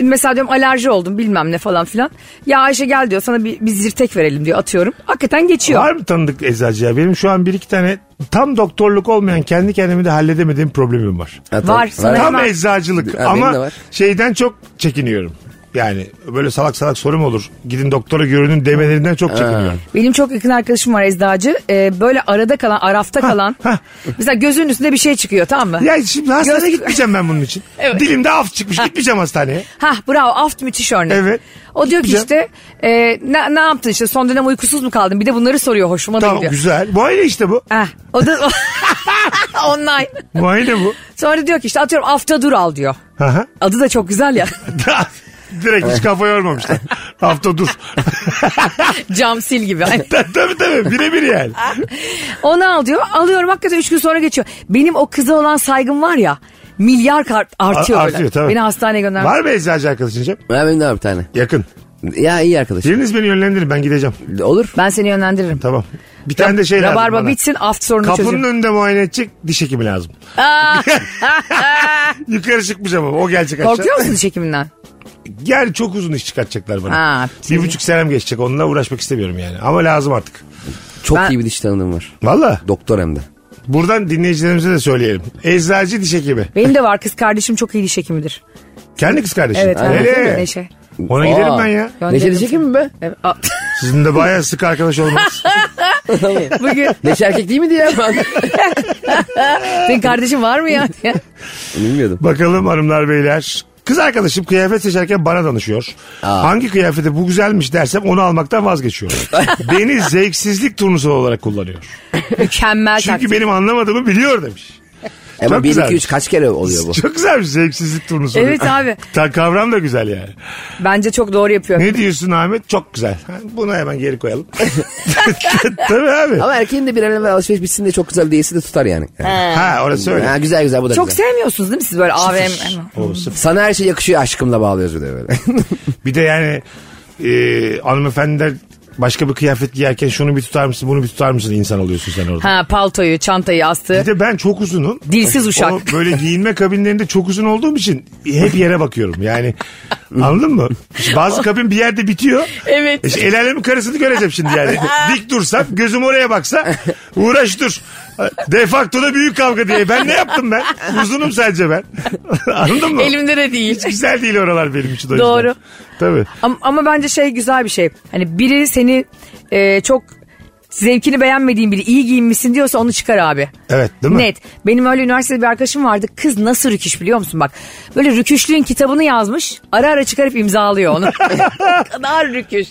mesela diyorum alerji oldum bilmem ne falan filan. Ya Ayşe gel diyor sana bir, bir zirtek verelim diyor atıyorum. Hakikaten geçiyor. Var mı tanıdık eczacı ya? Benim şu an bir iki tane tam doktorluk olmayan kendi kendimi de halledemediğim problemim var. Ha, tamam. Var, sana- Var. Tam hemen- eczacılık Ha, benim de ama var. şeyden çok çekiniyorum. Yani böyle salak salak soru mu olur? Gidin doktora görünün demelerinden çok çekiniyorum. Benim çok yakın arkadaşım var eczacı. Ee, böyle arada kalan, arafta kalan. ha. mesela gözünün üstünde bir şey çıkıyor tamam mı? Ya şimdi hastaneye Göz- gitmeyeceğim ben bunun için. Evet. Dilimde af çıkmış gitmeyeceğim hastaneye. Ha bravo aft müthiş örnek. Evet. O diyor ki Güzel. işte e, ne, ne yaptın işte son dönem uykusuz mu kaldın? Bir de bunları soruyor hoşuma da Tamam gidiyor. güzel. Muayene işte bu. Heh, o da online. Muayene bu. Sonra diyor ki işte atıyorum afta dur al diyor. Aha. Adı da çok güzel ya. Direkt hiç kafa yormamışlar. Hafta dur. Cam sil gibi. Ay. tabii tabii birebir yani. Onu al diyor. Alıyorum hakikaten 3 gün sonra geçiyor. Benim o kıza olan saygım var ya. Milyar kart artıyor Ar- böyle. artıyor tabii. Beni hastaneye gönder. Var mı eczacı arkadaşın Cem? Ben benim de var bir tane. Yakın. Ya iyi arkadaş. Biriniz beni yönlendirin ben gideceğim. Olur. Ben seni yönlendiririm. Tamam. Bir tane de şey lazım Rabarba bana. bitsin aft sorunu Kapının çözeyim. önünde muayene edecek diş hekimi lazım. Yukarı çıkmış ama o gelecek aşağı. Korkuyor musun diş hekiminden? Gel çok uzun iş çıkartacaklar bana. Ha, bir buçuk senem geçecek onunla uğraşmak istemiyorum yani. Ama lazım artık. Çok Ben- iyi bir diş tanıdığım var. Valla Doktor hem de. buradan dinleyicilerimize de söyleyelim. Eczacı diş hekimi. Benim de var kız kardeşim çok iyi diş hekimidir. Kendi kız kardeşin. Evet. Hele. evet. Neşe. Ona giderim ben ya. Gönderirim. Neşeli çekim mi be? Evet. Aa, Sizin de bayağı sık arkadaş olmanız. Bugün Neşe erkek değil mi diye ben. senin kardeşin var mı ya? Bilmiyordum. Bakalım hanımlar beyler. Kız arkadaşım kıyafet seçerken bana danışıyor. Hangi kıyafeti bu güzelmiş dersem onu almaktan vazgeçiyor. Beni zevksizlik turnusol olarak kullanıyor. Mükemmel Çünkü taktik. benim anlamadığımı biliyor demiş. Ama 1 2 güzelmiş. 3 kaç kere oluyor bu? Çok güzelmiş zevksizlik turnusolu. Evet abi. Ta kavram da güzel yani. Bence çok doğru yapıyor. Ne diyorsun Ahmet? Çok güzel. Ha, Bunu hemen geri koyalım. Tabii abi. Ama erkeğin de bir an evvel alışveriş bitsin de çok güzel değilse de tutar yani. Ha orası öyle. Ha, güzel güzel bu da Çok güzel. sevmiyorsunuz değil mi siz böyle AVM? O, sıfır. Sana her şey yakışıyor aşkımla bağlıyoruz bir de böyle. Bir de yani e, hanımefendiler başka bir kıyafet giyerken şunu bir tutar mısın bunu bir tutar mısın insan oluyorsun sen orada. Ha paltoyu, çantayı, astığı. Bir de ben çok uzunum. Dilsiz uşak. O böyle giyinme kabinlerinde çok uzun olduğum için hep yere bakıyorum. Yani anladın mı? İşte bazı kabin bir yerde bitiyor. Evet. İşte el alemin karısını göreceğim şimdi yani. Dik dursam gözüm oraya baksa uğraş dur. De facto da büyük kavga diye. Ben ne yaptım ben? Uzunum sadece ben. Anladın mı? Elimde de değil. Hiç güzel değil oralar benim için. o yüzden. Doğru. Tabii. Ama, ama bence şey güzel bir şey. Hani biri seni e, çok zevkini beğenmediğin biri iyi giyinmişsin diyorsa onu çıkar abi. Evet değil mi? Net. Benim öyle üniversitede bir arkadaşım vardı. Kız nasıl rüküş biliyor musun bak. Böyle rüküşlüğün kitabını yazmış. Ara ara çıkarıp imzalıyor onu. O kadar rüküş.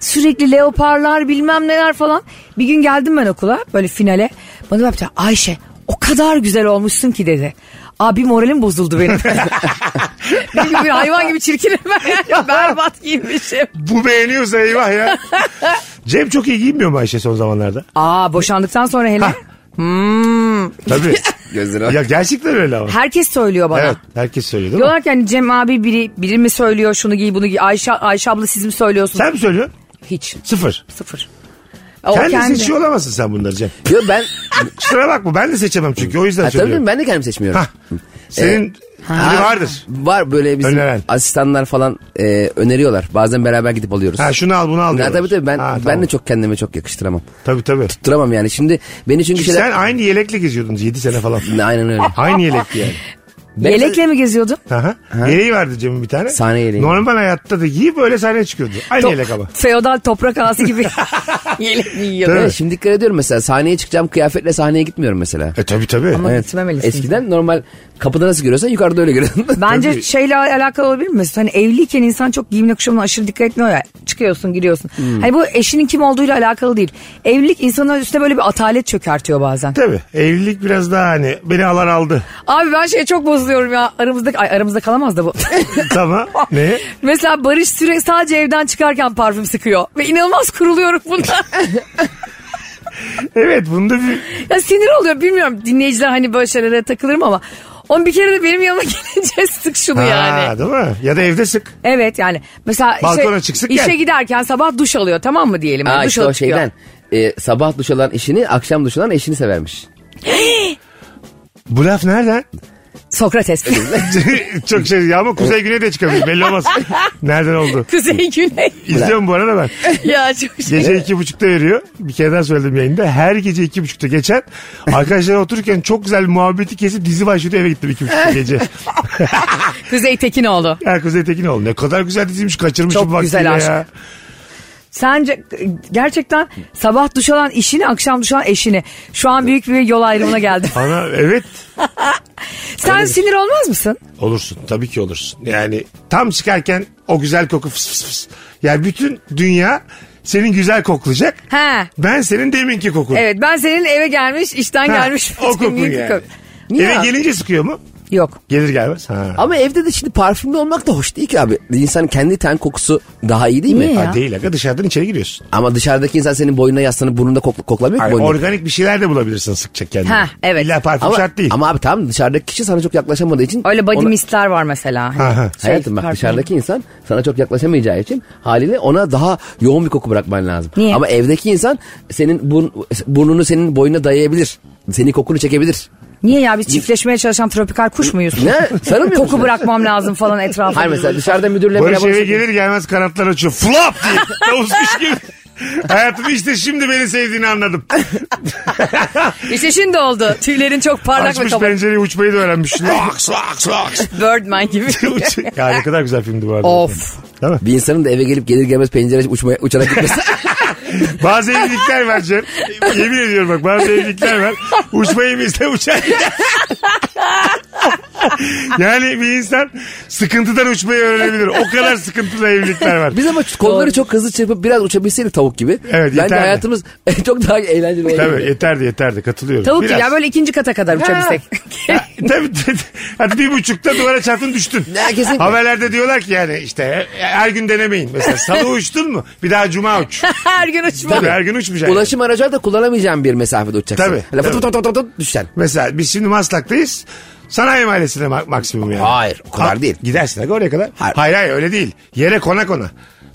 Sürekli leoparlar bilmem neler falan. Bir gün geldim ben okula böyle finale. Bana baktı Ayşe o kadar güzel olmuşsun ki dedi. Abi moralim bozuldu benim. benim gibi hayvan gibi çirkinim. Berbat giyinmişim. Bu beğeniyorsa eyvah ya. Cem çok iyi giyinmiyor mu Ayşe son zamanlarda? Aa boşandıktan sonra hele. Tabii. Gözleri ya gerçekten öyle ama. Herkes söylüyor bana. Evet herkes söylüyor değil mi? Diyorlar ki hani Cem abi biri, biri mi söylüyor şunu giy bunu giy. Ayşe, Ayşe abla siz mi söylüyorsunuz? Sen mi söylüyorsun? Hiç. Sıfır. Sıfır. O Kendi, seçiyor olamazsın sen bunları Cem. Yo ben Kusura bakma ben de seçemem çünkü o yüzden ha, tabii söylüyorum. canım, ben de kendim seçmiyorum. Hah. Senin biri vardır. Var böyle bizim Öneren. asistanlar falan e, öneriyorlar. Bazen beraber gidip alıyoruz. Ha şunu al bunu al Ya diyorlar. tabii tabii ben Ha, ben tamam. de çok kendime çok yakıştıramam. Tabii tabii. Tutturamam yani. Şimdi beni çünkü Çünkü şeyler Sen aynı yelekle geziyordunuz 7 sene falan. aynen öyle. aynı yelekti yani. Yelekle mi geziyordun? Aha. Yeleği vardı Cem'in bir tane. Sahne yeleği. Normal hayatta da giyip öyle sahneye çıkıyordu. Aynı To- yelek ama. Feodal toprak ağası gibi yelek mi yiyordun? Evet, şimdi dikkat ediyorum mesela sahneye çıkacağım kıyafetle sahneye gitmiyorum mesela. E tabii tabii. Ama gitmemelisin. Eskiden normal kapıda nasıl görüyorsan yukarıda öyle görüyorsun. Bence Tabii. şeyle alakalı olabilir mi? Hani evliyken insan çok giyimine kuşamına aşırı dikkat etmiyor ya. Çıkıyorsun giriyorsun. Hani bu eşinin kim olduğuyla alakalı değil. Evlilik insanın üstüne böyle bir atalet çökertiyor bazen. Tabii. Evlilik biraz daha hani beni alan aldı. Abi ben şeye çok bozuluyorum ya. Aramızda, ay, aramızda kalamaz da bu. tamam. Ne? Mesela Barış süre sadece evden çıkarken parfüm sıkıyor. Ve inanılmaz kuruluyorum bundan. Evet bunda bir... ya sinir oluyor bilmiyorum. Dinleyiciler hani böyle şeylere takılırım ama. On bir kere de benim yanıma gelince sık şunu Ha, yani. değil mi? Ya da evde sık. Evet yani mesela Balkona işe, çıksın işe gel. giderken sabah duş alıyor tamam mı diyelim. Aa Yani duş işte o alıp çıkıyor. şeyden. E, sabah duş alan işini akşam duş alan eşini severmiş. Bu laf nereden? Sokrates. Çok şey ama Kuzey Güney de çıkabilir belli olmaz. Nereden oldu? Kuzey güney. İzliyorum bu arada ben. ya çok şey. Gece iki buçukta veriyor. Bir kere daha söyledim yayında. Her gece iki buçukta geçen. Arkadaşlar otururken çok güzel bir muhabbeti kesip dizi başlıyordu eve gittim iki buçukta gece. Kuzey Tekinoğlu. Ya Kuzey Tekinoğlu ne kadar güzel diziymiş kaçırmışım Çok güzel vaktiyle aşk. ya. Sence gerçekten sabah duş alan işini, akşam duş alan eşini. Şu an büyük bir yol ayrımına geldim. Ana evet Sen sinir olmaz mısın? olursun tabii ki olursun. Yani tam çıkarken o güzel koku fıs fıs fıs. Yani bütün dünya senin güzel koklayacak. He. Ben senin deminki kokun. Evet ben senin eve gelmiş, işten Ha, gelmiş. o kokun Büyük bir yani. kok- Niye? Eve gelince sıkıyor mu? Yok. Gelir gelmez. Ha. Ama evde de şimdi parfümlü olmak da hoş değil ki abi. İnsanın kendi ten kokusu daha iyi değil mi? Niye ya? Ha, değil aga dışarıdan içeri giriyorsun. Ama dışarıdaki insan senin boynuna yaslanıp burnunda kokla, koklamıyor ki Hayır, boynunu. organik bir şeyler de bulabilirsin sıkacak kendine. Ha, evet. İlla parfüm Ama, şart değil. ama abi tamam dışarıdaki kişi sana çok yaklaşamadığı için. Öyle body ona- mistler var mesela. Ha, ha. Şey, Hayatım bak parfüm. dışarıdaki insan sana çok yaklaşamayacağı için haliyle ona daha yoğun bir koku bırakman lazım. Niye? Ama evdeki insan senin burn- burnunu senin boynuna dayayabilir. Senin kokunu çekebilir. Niye ya biz çiftleşmeye çalışan tropikal kuş muyuz? Ne? Sarılmıyor musun? Koku bırakmam lazım falan etrafa. Hayır mesela dışarıda müdürle Barış merhaba- şey eve gelir gelmez kanatlar açıyor. Flop diye. Tavus kuş gibi. Hayatım işte şimdi beni sevdiğini anladım. İşte şimdi oldu. Tüylerin çok parlak ve Açmış kabarık. pencereyi uçmayı da öğrenmiş. Laks laks laks. Birdman gibi. Uç- ya ne kadar güzel filmdi bu arada. of. Değil mi? Bir insanın da eve gelip gelir gelmez pencere uçmaya, uçarak gitmesi. Bazı evlilikler var Cem. Yemin ediyorum bak bazı evlilikler var. Uçmayı bizde uçar. yani bir insan sıkıntıdan uçmayı öğrenebilir. O kadar sıkıntılı evlilikler var. Biz ama kolları çok hızlı çırpıp biraz uçabilseydik tavuk gibi. Evet, Bence yeterli. hayatımız çok daha eğlenceli olurdu. Tabii yeterdi yeterdi katılıyorum. Tavuk Biraz. gibi ya böyle ikinci kata kadar uçabilsek. Ha, tabii, tabii. Hadi bir buçukta duvara çarptın düştün. Ya, kesinlikle. Haberlerde diyorlar ki yani işte her gün denemeyin. Mesela salı uçtun mu bir daha cuma uç. Her gün uçma. Tabii her gün uçmayacaksın. Ulaşım aracı da kullanamayacağın bir mesafede uçacaksın. Hani Tabii, Lafı tabii. tut tut tut tut düşen. Mesela biz şimdi Maslak'tayız. Sanayi mahallesine ma- maksimum yani. Hayır, o kadar değil. Gidersin aga oraya kadar. Hayır. Hayır. hayır öyle değil. Yere kona kona.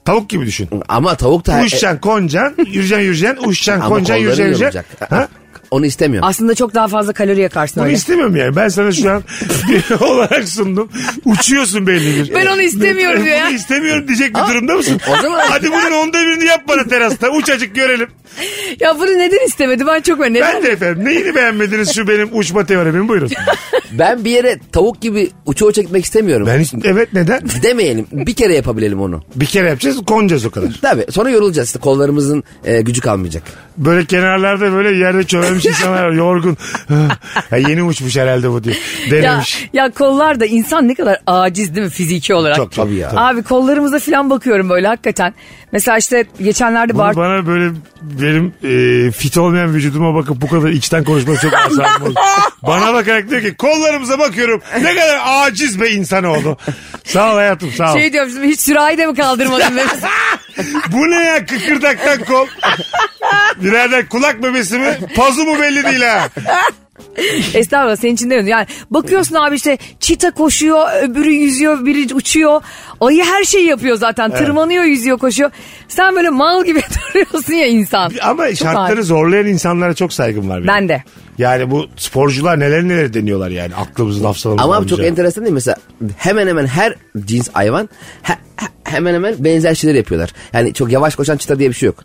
Tavuk gibi düşün. Ama tavuk da... e, Uçacaksın koncan, yürüyeceksin yürüyeceksin, uçacaksın Ama koncan, kolları yürüyeceksin yorulacak. yürüyeceksin. Ha? Onu istemiyorum. Aslında çok daha fazla kalori yakarsın Bunu öyle. istemiyorum yani. Ben sana şu an bir olarak sundum. Uçuyorsun belli bir. Ben onu istemiyorum diyor ya. Bunu istemiyorum diyecek bir durumda mısın? o zaman- Hadi bunun onda birini yap bana terasta. Uçacık görelim. Ya bunu neden istemedi? Ben çok merak Ben de efendim. Neyini beğenmediniz şu benim uçma teoremim buyurun. Ben bir yere tavuk gibi uça uça gitmek istemiyorum. Ben hiç- evet neden? Demeyelim. Bir kere yapabilelim onu. Bir kere yapacağız konacağız o kadar. Tabii. Sonra yorulacağız. İşte Kollarımızın e, gücü kalmayacak. Böyle kenarlarda böyle yerde çömelmiş insanlar var, yorgun. ya yeni uçmuş herhalde bu diyor. Ya, Denemiş. ya kollar da insan ne kadar aciz değil mi fiziki olarak? Çok, tabii ya. Abi kollarımıza falan bakıyorum böyle hakikaten. Mesela işte geçenlerde Bunu Bart... bana böyle benim e, fit olmayan vücuduma bakıp bu kadar içten konuşması çok asabım oldu. Bana bakarak diyor ki kollarımıza bakıyorum ne kadar aciz be insanoğlu. sağ ol hayatım sağ ol. Şey diyorum şimdi hiç sürahi de mi kaldırmadın? be? Bu ne ya kıkırdaktan kol. Birader kulak bebesi mi pazu mu belli değil ha. Estağfurullah senin için demiyorum. Yani bakıyorsun abi işte çita koşuyor, öbürü yüzüyor, biri uçuyor. Ayı her şeyi yapıyor zaten. Tırmanıyor, yüzüyor, koşuyor. Sen böyle mal gibi duruyorsun ya insan. Ama Çok şartları ağır. zorlayan insanlara çok saygım var benim. Ben de. Yani bu sporcular neler neler deniyorlar yani aklımızı laf salalım. Ama abi olmayacak. çok enteresan değil mi? Mesela hemen hemen her cins hayvan he- he- hemen hemen benzer şeyler yapıyorlar. Yani çok yavaş koşan çıta diye bir şey yok.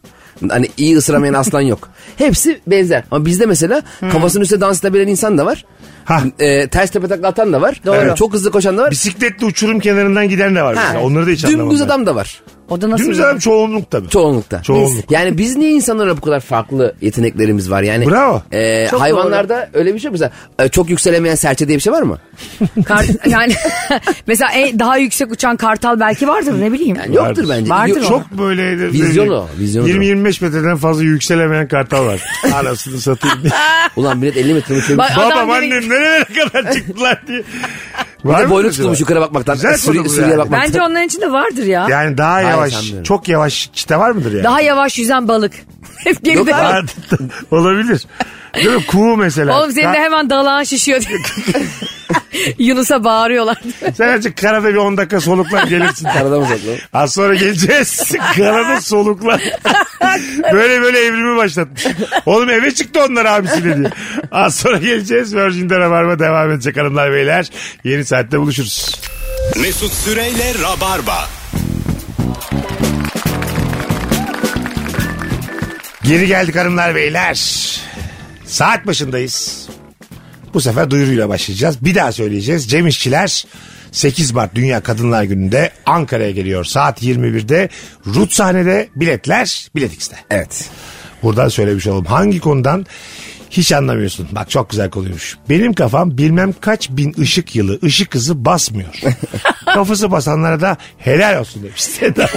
Hani iyi ısıramayan aslan yok. Hepsi benzer. Ama bizde mesela Hmm. kafasının üstüne dans edebilen insan da var. Hah. E, ters tepe takla atan da var. Ah. E, Doğru. Çok hızlı koşan da var. Bisikletle uçurum kenarından giden de var. Ha. mesela. Onları da hiç anlamam. Dümdüz ben. adam da var. O da nasıl? Dümdüz bir- adam çoğunluk tabii. Çoğunlukta. Çoğunluk. Biz- yani biz niye insanlara bu kadar farklı yeteneklerimiz var? Yani Bravo. e, Çok hayvanlarda öyle bir şey yok. Mesela e, çok yükselemeyen serçe diye bir şey var mı? Kar- yani mesela en- daha yüksek uçan kartal belki vardır ne bileyim. Yani Hani yoktur Vardır. bence. Vardır Yok- o. Çok böyle Vizyon o, vizyon o. 20-25 metreden fazla yükselemeyen kartal var. Anasını satayım. diye. Ulan millet 50 metre uçuyor. Bak- Adam Babam direkt- annem nerelere kadar çıktılar diye. Bir Var de mı boynu acaba? tutulmuş yukarı bakmaktan. Güzel Sürü- konu bu sürüye yani. bakmaktan. Bence onların içinde vardır ya. Yani daha Hayır, yavaş, sanmıyorum. çok yavaş çite var mıdır yani? Daha yavaş yüzen balık. Hep geride. var. Olabilir. Değil mi? Kuğu mesela. Oğlum senin de Ka- hemen dalağın şişiyor. diye. Yunus'a bağırıyorlar. Sen azıcık karada bir 10 dakika solukla gelirsin. Arada mı saklı? Az sonra geleceğiz. Karada solukla. böyle böyle evrimi başlatmış. Oğlum eve çıktı onlar abisiyle diye. Az sonra geleceğiz. Virgin'de Rabarba devam edecek hanımlar beyler. Yeni saatte buluşuruz. Mesut Süreyle Rabarba. Geri geldik hanımlar beyler. Saat başındayız. Bu sefer duyuruyla başlayacağız. Bir daha söyleyeceğiz. Cem İşçiler 8 Mart Dünya Kadınlar Günü'nde Ankara'ya geliyor. Saat 21'de Rut sahnede biletler biletikste. Evet. Buradan söylemiş olalım. Hangi konudan hiç anlamıyorsun. Bak çok güzel konuymuş. Benim kafam bilmem kaç bin ışık yılı ışık hızı basmıyor. Kafası basanlara da helal olsun demiş Seda.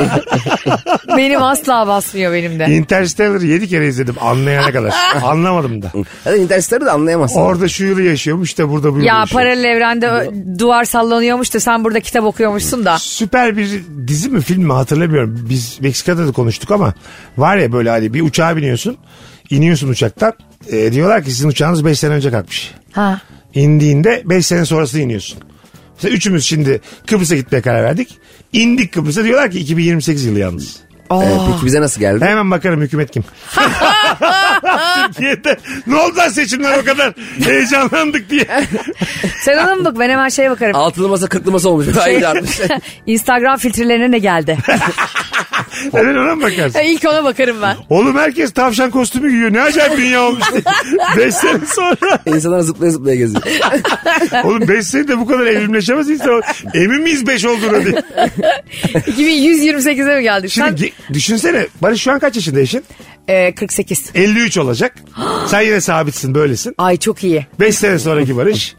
benim asla basmıyor benim de. Interstellar'ı 7 kere izledim anlayana kadar. Anlamadım da. Hadi Interstellar'ı da anlayamazsın. Orada şu yılı yaşıyormuş da burada bu yılı Ya yaşıyor. paralel evrende ö- duvar sallanıyormuş da sen burada kitap okuyormuşsun da. Süper bir dizi mi film mi hatırlamıyorum. Biz Meksika'da da konuştuk ama var ya böyle hani bir uçağa biniyorsun. iniyorsun uçaktan. E, diyorlar ki sizin uçağınız 5 sene önce kalkmış. Ha. indiğinde 5 sene sonrası iniyorsun. Mesela üçümüz şimdi Kıbrıs'a gitmeye karar verdik. İndik Kıbrıs'a diyorlar ki 2028 yılı yalnız. Evet, Ee, peki bize nasıl geldi? Hemen bakarım hükümet kim. Türkiye'de ne oldu lan seçimler o kadar heyecanlandık diye. Sen ona mı bak ben hemen şeye bakarım. Altılı masa kırklı masa Şey- olmuş. Hayır artmış. Instagram filtrelerine ne geldi? Hemen ona mı bakarsın? İlk ona bakarım ben. Oğlum herkes tavşan kostümü giyiyor. Ne acayip dünya olmuş. 5 sene sonra. İnsanlar zıplaya zıplaya geziyor. Oğlum 5 sene de bu kadar evrimleşemez insan. Emin miyiz 5 olduğuna diye. 2128'e mi geldik? Şimdi Sen ge- düşünsene. Barış şu an kaç yaşında eşin? e, 48. 53 olacak. Sen yine sabitsin böylesin. Ay çok iyi. 5 sene sonraki Barış.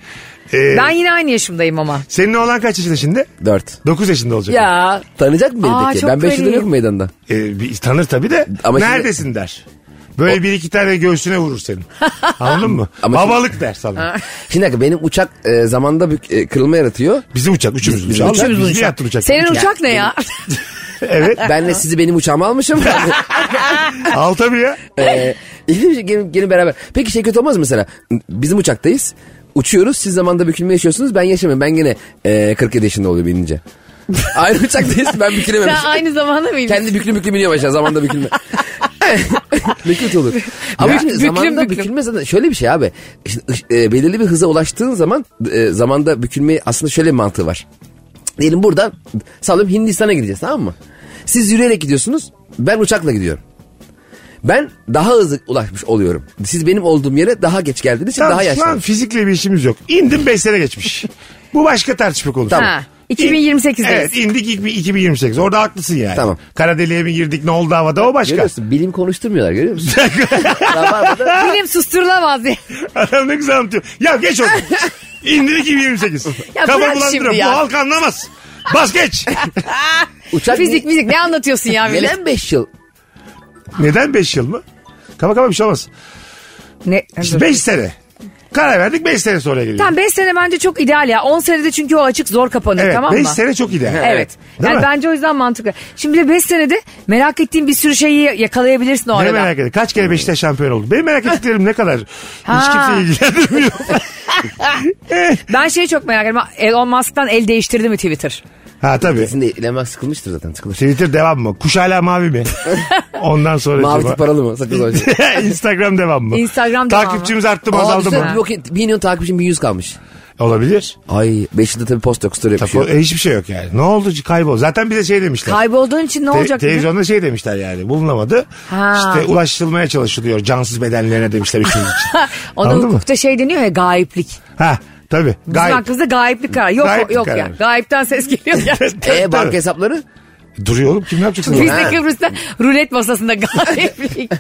Ee, Ben yine aynı yaşımdayım ama. Senin oğlan kaç yaşında şimdi? Dört. 9 yaşında olacak. Ya. Tanıyacak mı beni Aa, peki? çok Ben beş yıldır garip. yokum meydanda. Ee, bir, tanır tabii de Ama şimdi- neredesin der. Böyle bir iki tane göğsüne vurur senin. Anladın mı? Ama şimdi- Babalık der sana. Şimdi dakika, benim uçak e, zamanda bir e, kırılma yaratıyor. Bizim uçak, üçümüzün Bizim uçağı. uçak, Biz bizim niye yattın uçak? Senin uçak ne ya? Evet. Benle sizi benim uçağıma almışım. Al tabii ya. ee, gelin, gelin, gelin beraber. Peki şey kötü olmaz mı mesela? Bizim uçaktayız. Uçuyoruz. Siz zamanda bükülme yaşıyorsunuz. Ben yaşamıyorum. Ben gene e, 47 yaşında oluyor binince. Aynı uçaktayız. Ben Sen bükülememişim. aynı zamanda mıydın? Kendi büklüm büklüm iniyorum aşağı zamanda bükülme. ne kötü olur. Ama şimdi büklüm zamanda büklüm. bükülme zaten şöyle bir şey abi. Şimdi, e, belirli bir hıza ulaştığın zaman e, zamanda bükülme aslında şöyle bir mantığı var. Diyelim buradan sallıyorum Hindistan'a gideceğiz tamam mı? Siz yürüyerek gidiyorsunuz. Ben uçakla gidiyorum. Ben daha hızlı ulaşmış oluyorum. Siz benim olduğum yere daha geç geldiğiniz için Tamam, daha şu an yaşlı. fizikle bir işimiz yok. İndim 5 sene geçmiş. Bu başka tartışma konusu. Tamam. Ha, 2028'deyiz. Evet indik ilk- 2028. Orada haklısın yani. Tamam. Kara deliğe mi girdik ne oldu havada o başka. Görüyorsun bilim konuşturmuyorlar görüyor musun? Rabarba'da Bilim susturulamaz diye. Adam ne güzel anlatıyor. Ya geç oldu. İndirik 2028. Ya Kafa bırak bulandırıyor. şimdi Bu ya. halk anlamaz. Bas geç. uçak Fizik fizik ne anlatıyorsun ya bilim? Neden 5 yıl? Neden 5 yıl mı? Kaba kaba bir şey olmaz. Ne? İşte 5 sene. Karar verdik 5 sene sonra geliyor. Tamam 5 sene bence çok ideal ya. 10 senede çünkü o açık zor kapanıyor Evet, tamam mı? 5 sene çok ideal. Evet. Değil yani mi? bence o yüzden mantıklı. Şimdi bir de 5 senede merak ettiğin bir sürü şeyi yakalayabilirsin o Ne arada. merak ediyorum. Kaç kere Beşiktaş şampiyon oldu? Benim merak ettiklerim ne kadar? Hiç Ha. kimseyi ilgilendirmiyor. Ben şeyi çok merak ediyorum. Elon Musk'tan el değiştirdi mi Twitter? ha tabii. Sizin de Elon Musk sıkılmıştır zaten sıkılır. Twitter devam mı? Kuş hala mavi mi? Ondan sonra Mavi acaba- tip paralı mı? Sakız oyuncu. Instagram devam mı? Instagram devam mı? Takipçimiz arttı mı Aa, azaldı düşünsene, mı? Bir, bakayım, bir milyon takipçim bir yüz kalmış. Olabilir. Ay 5 yılda tabii post yok story Tabii, yapıyor. e, hiçbir şey yok yani. Ne oldu kaybol. Zaten bize şey demişler. Kaybolduğun için ne Te- olacak? dedi? televizyonda şey demişler yani bulunamadı. Ha. İşte ulaşılmaya çalışılıyor cansız bedenlerine demişler üçümüz için. Ona Anladın mı? hukukta şey deniyor ya gayiplik. Ha tabii. Bizim Gayet. hakkımızda gayiplik kararı. Yok Gayiplik yok ya. kararı. Gayipten ses geliyor ya. E banka Tabii. hesapları? Duruyor oğlum kim yapacak Biz sana? de Ha. Kıbrıs'ta rulet masasında gayiplik.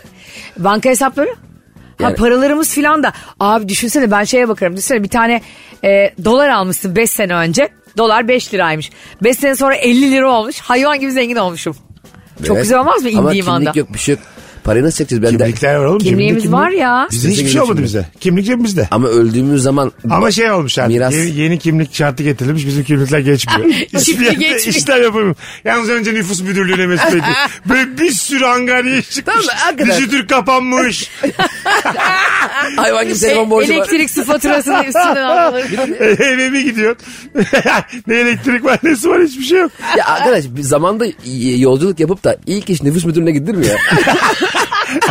Banka hesapları? Ha Yani- paralarımız filan da. Abi düşünsene ben şeye bakarım. Düşünsene bir tane e, dolar almışsın 5 sene önce. Dolar 5 liraymış. 5 sene sonra 50 lira olmuş. Hayvan gibi zengin olmuşum. Çok Evet. güzel olmaz mı Ama indiğim kimlik anda? yok bir şey yok. Parayı nasıl çekeceğiz? Ben de- Kimlikler var oğlum. Kimliğimiz cebimde var ya. Bizde hiçbir şey olmadı Kimlik. bize. Kimlik cebimizde. Ama öldüğümüz zaman Ama şey olmuş artık. Miras. Yeni, yeni kimlik şartı getirilmiş. Bizim kimlikler geçmiyor. Hiçbir yerde geçmiyor. işlem yapamıyorum. Yalnız önce nüfus müdürlüğüne mesut ediyor. Böyle bir sürü angarya çıkmış. Tamam da hakikaten. Dijitür kapanmış. hayvan gibi telefon borcu var. E, Elektrik su faturasını üstünden aldılar. E, Eve mi gidiyorsun? ne elektrik var ne su var hiçbir şey yok. Ya arkadaş bir zamanda y- yolculuk yapıp da ilk iş nüfus müdürüne gidilir mi ya?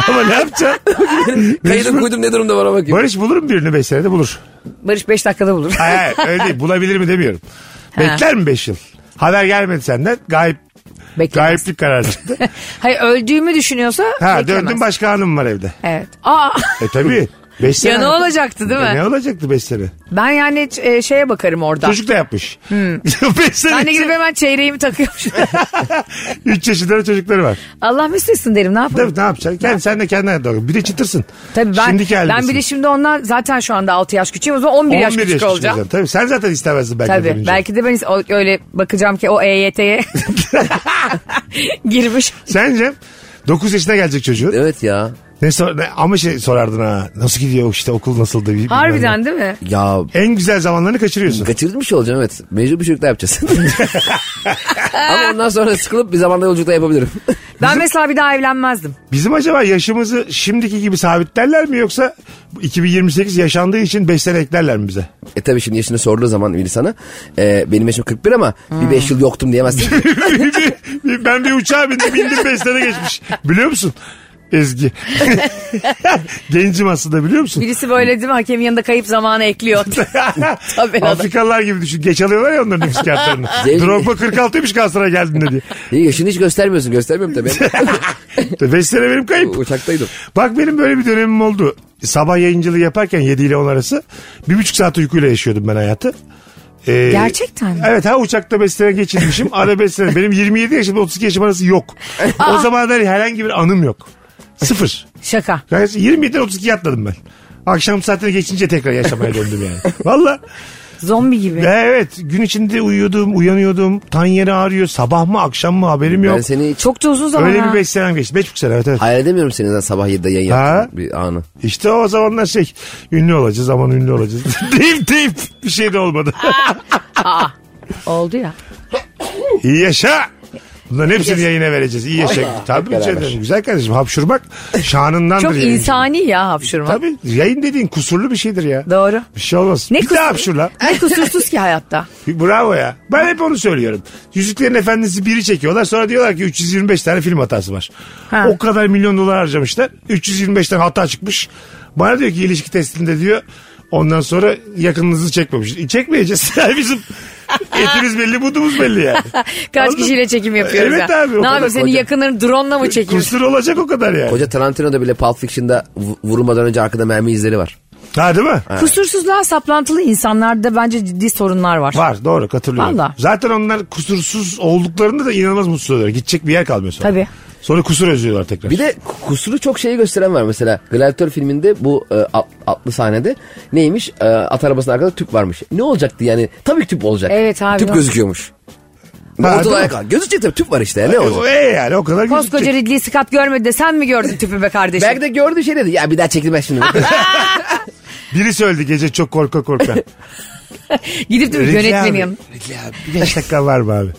Ama ne yapacaksın? Kaydım kuydum ne durumda var ama bakayım. Barış bulur mu birini 5 senede bulur. Barış 5 dakikada bulur. Hayır hayır öyle değil bulabilir mi demiyorum. Bekler mi 5 yıl? Haber gelmedi senden. Gayip, Beklemez. gayiplik kararı çıktı. Hayır öldüğümü düşünüyorsa Ha beklemez. döndüm başka hanım var evde. Evet. Aa, E tabii. 5 sene. ya ne olacaktı değil E, ne mi? olacaktı 5 sene? Ben yani e, şeye bakarım orada. Çocuk da yapmış. Hmm. 5 Ben de sene. gidip hemen çeyreğimi takıyormuşum. 3 yaşında çocukları var. Allah müstesin derim ne yapalım. Tabii ne yapacaksın? Kendi, sen de kendine hayatına bak. Bir de çıtırsın. Tabii ben, Şimdiki ben halindesin. bir de şimdi ondan zaten şu anda 6 yaş küçüğüm o zaman 11, 11 yaş küçük yaşındasın olacağım. sen. Tabii sen zaten istemezdin belki. Tabii dönünce. belki de ben is- o- öyle bakacağım ki o EYT'ye girmiş. Sence 9 yaşına gelecek çocuğun. Ee- Evet ya. Ne sor, ne- ama şey sorardın ha. Nasıl gidiyor işte okul nasıldı? bilmem ne. Harbiden değil mi? Ya En güzel zamanlarını kaçırıyorsun. kaçırmış olacağım evet. Mecbur bir çocukla yapacağız. ama ondan sonra sıkılıp bir zamanda yolculukta yapabilirim. Ben mesela bir daha evlenmezdim. Bizim acaba yaşımızı şimdiki gibi sabitlerler mi yoksa 2028 yaşandığı için 5 sene eklerler mi bize? e tabii şimdi yaşını sorduğu zaman biri sana e, benim yaşım 41 ama bir 5 yıl yoktum diyemezsin. ki. Bir- bir- ben bir uçağa bindim bindim 5 sene geçmiş. Biliyor musun? Ezgi. Gencim aslında biliyor musun? Birisi böyle değil mi hakemin yanında kayıp zamanı ekliyor. Tabii adam. Afrikalılar gibi düşün. Geç alıyorlar ya onların nüfus kağıtlarını. Zevkli. Drogba 46'ymış Galatasaray'a geldiğinde diye. İyi yaşını hiç göstermiyorsun. Göstermiyorum tabii. 5 sene benim kayıp. Uçaktaydım. Bak benim böyle bir dönemim oldu. Sabah yayıncılığı yaparken 7 ile 10 arası bir buçuk saat uykuyla yaşıyordum ben hayatı. Ee, Gerçekten mi? Evet ha uçakta 5 sene geçirmişim. Ara 5 sene. Benim 27 yaşımda 32 yaşım arası yok. o zamanlar herhangi bir anım yok. Sıfır. Şaka. Yani 27'den 32'ye atladım ben. Akşam saatine geçince tekrar yaşamaya döndüm yani. Valla. Zombi gibi. Evet gün içinde uyuyordum uyanıyordum. Tan yeri ağrıyor. Sabah mı akşam mı haberim yok. Ben seni hiç Çok da uzun zaman Öyle ha. bir 5 senem geçti. 5,5 sene evet evet. hayal edemiyorum senin zaten sabah 7'de yayın Ha? yaptığın bir anı. İşte o zamanlar şey ünlü olacağız aman ünlü olacağız. deyip deyip bir şey de olmadı. Oldu ya. İyi yaşa. Bunların hepsini yayına vereceğiz. İyi yaşa. Tabii beraber. canım. Güzel kardeşim hapşurmak şanındandır. Çok yayıncı. insani ya hapşurma. Tabii yayın dediğin kusurlu bir şeydir ya. Doğru. Bir şey olmaz. Ne bir kusur- daha hapşurla. Ne kusursuz ki hayatta. Bravo ya. Ben hep onu söylüyorum. Yüzüklerin Efendisi biri çekiyorlar. Sonra diyorlar ki 325 tane film hatası var. Ha. O kadar milyon dolar harcamışlar. 325 tane hata çıkmış. Bana diyor ki ilişki testinde diyor. Ondan sonra yakınınızı çekmemiş. E, çekmeyeceğiz. Bizim etimiz belli, budumuz belli yani. Kaç Anladın? kişiyle çekim yapıyoruz Evet ya. abi, o Ne kadar yapayım senin koca- yakınların drone'la mı çekiyorsun? Kusur olacak o kadar yani. Koca Tarantino'da bile Pulp Fiction'da vu- vurulmadan önce arkada mermi izleri var. Ha değil mi? Kusursuzluğa saplantılı insanlarda bence ciddi sorunlar var. Var doğru katılıyorum. Valla. Zaten onlar kusursuz olduklarında da inanılmaz mutsuz oluyorlar. Gidecek bir yer kalmıyor sonra. Tabii. Sonra kusur özlüyorlar tekrar. Bir de kusuru çok şeyi gösteren var mesela. Gladiator filminde bu e, at- atlı sahnede neymiş? E, at arabasının arkada tüp varmış. Ne olacaktı yani? Tabii ki tüp olacak. Evet abi, Tüp ne- gözüküyormuş. Ha, Ortada değil mi? ayağa kalk. Gözükecek tabii tüp var işte. ya, Ne o, olacak? e yani o kadar Koskoca gözükecek. Ridley Scott görmedi de sen mi gördün tüpü be kardeşim? Belki de gördü şey dedi. Ya bir daha çekilmez şimdi. Biri söyledi gece çok korka korka. Gidip de Ridley yönetmenin abi, yanına. Ridley abi bir beş dakika var mı abi?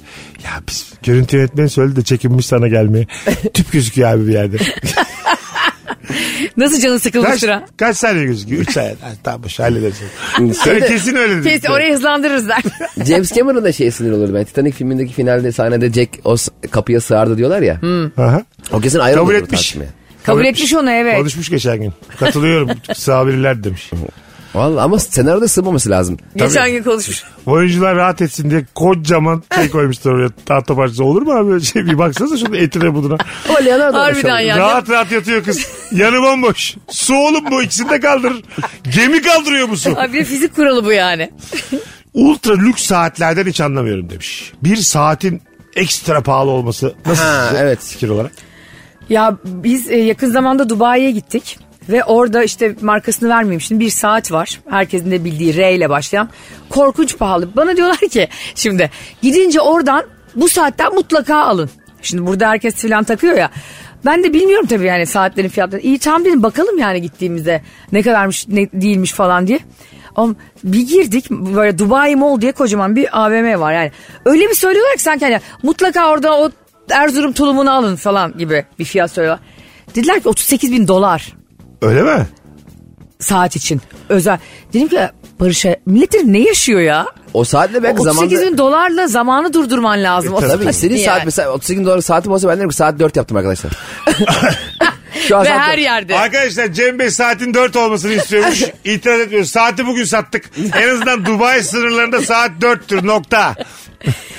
Ya biz görüntü yönetmeni söyledi de çekinmiş sana gelmeye. Tüp gözüküyor abi bir yerde. Nasıl canı sıkılmış kaç, sıra? kaç saniye gözüküyor? Üç saniye. Ha, tamam boş hallederiz. Şeyde- kesin öyle dedi. Kesin orayı hızlandırırız der. James Cameron da şey sinir olurdu ben. Titanic filmindeki finalde sahnede Jack o s- kapıya sığardı diyorlar ya. Aha. O kesin ayrı Hmm. Kabul olurdu etmiş. tartışmaya. Kabul etmiş onu evet. Konuşmuş geçen gün. Katılıyorum. Sabirler demiş. Vallahi ama senaryoda sığmaması lazım. Geçen gün konuşmuş. Oyuncular rahat etsin diye kocaman şey koymuşlar oraya. Tahta parçası olur mu abi? Şey, bir baksanıza şunun etine buduna. Ama Leonardo da Harbiden şov- ya. rahat rahat yatıyor kız. Yanı bomboş. Su oğlum bu ikisini de kaldırır. Gemi kaldırıyor bu su. Abi bir de fizik kuralı bu yani. Ultra lüks saatlerden hiç anlamıyorum demiş. Bir saatin ekstra pahalı olması nasıl Ha, size evet. fikir olarak? Ya biz e, yakın zamanda Dubai'ye gittik. Ve orada işte markasını vermeyeyim şimdi bir saat var. Herkesin de bildiği R ile başlayan. Korkunç pahalı. Bana diyorlar ki şimdi gidince oradan bu saatten mutlaka alın. Şimdi burada herkes filan takıyor ya. Ben de bilmiyorum tabii yani saatlerin fiyatları. İyi tam dedim bakalım yani gittiğimizde ne kadarmış ne değilmiş falan diye. Ama bir girdik böyle Dubai Mall diye kocaman bir AVM var yani. Öyle bir söylüyorlar ki sanki hani mutlaka orada o Erzurum tulumunu alın falan gibi bir fiyat söylüyorlar. Dediler ki 38 bin dolar Öyle mi? saat için özel. Dedim ki Barış'a millet dedim, ne yaşıyor ya? O saatle belki 38 zamanda... E, bin dolarla zamanı durdurman lazım. O Tabii saat senin yani. saat mesela 38 dolar saatim olsa ben derim ki saat 4 yaptım arkadaşlar. Şu an Ve saat her dört. yerde. Arkadaşlar Cem Bey saatin 4 olmasını istiyormuş. İtiraz etmiyoruz. Saati bugün sattık. En azından Dubai sınırlarında saat 4'tür nokta.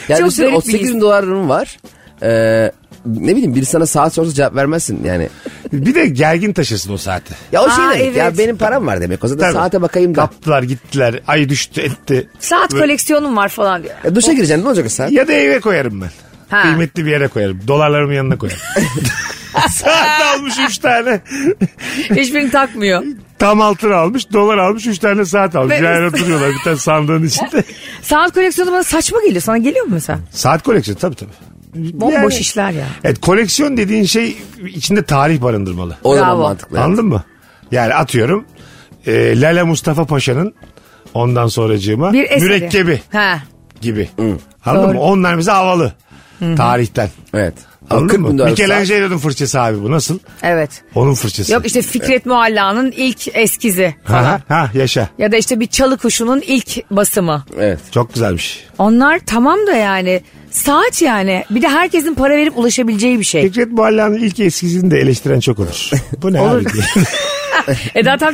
Yani Çok düşünsene, garip bir 38 his. bin dolarım var. Ee, ne bileyim biri sana saat sorsa cevap vermezsin yani. Bir de gergin taşırsın o saati. Ya o Aa, şey demek ya evet. benim param var demek. O zaman Tabii. saate bakayım da. Kaptılar gittiler. Ay düştü etti. Saat Böyle- koleksiyonum var falan diyor. Ya E, duşa gireceksin ne olacak o saat? Ya da eve koyarım ben. Ha. Kıymetli bir yere koyarım. Dolarlarımın yanına koyarım. Saat almış 3 tane. Hiçbirini takmıyor. Tam altın almış, dolar almış, 3 tane saat almış. Ve- Yani duruyorlar bir tane sandığın içinde. Saat koleksiyonu bana saçma geliyor. Sana geliyor mu mesela? saat koleksiyonu tabii tabii. Bomboş Yani- işler ya. Evet koleksiyon dediğin şey içinde tarih barındırmalı. O zaman Bravo. mantıklı. yani. Anladın mı? Yani atıyorum e, Lale Mustafa Paşa'nın ondan sonracığıma Bir eseri. mürekkebi Ha. gibi. Anladın Doğru. mı? Onlar bize havalı. Tarihten. Evet. Ama 40 Anladın bin mı? dolar saat. Michelangelo'nun fırçası abi bu nasıl? Evet. Onun fırçası. Yok işte Fikret Mualla'nın ilk eskizi falan. Ha, ha, yaşa. Ya da işte bir çalı kuşunun ilk basımı. şey- Evet. Çok güzelmiş. Onlar tamam da yani saat yani. Bir de herkesin para verip ulaşabileceği bir şey. Fikret Muhalla'nın ilk eskizini de eleştiren çok olur. Bu ne abi diye. Eda tam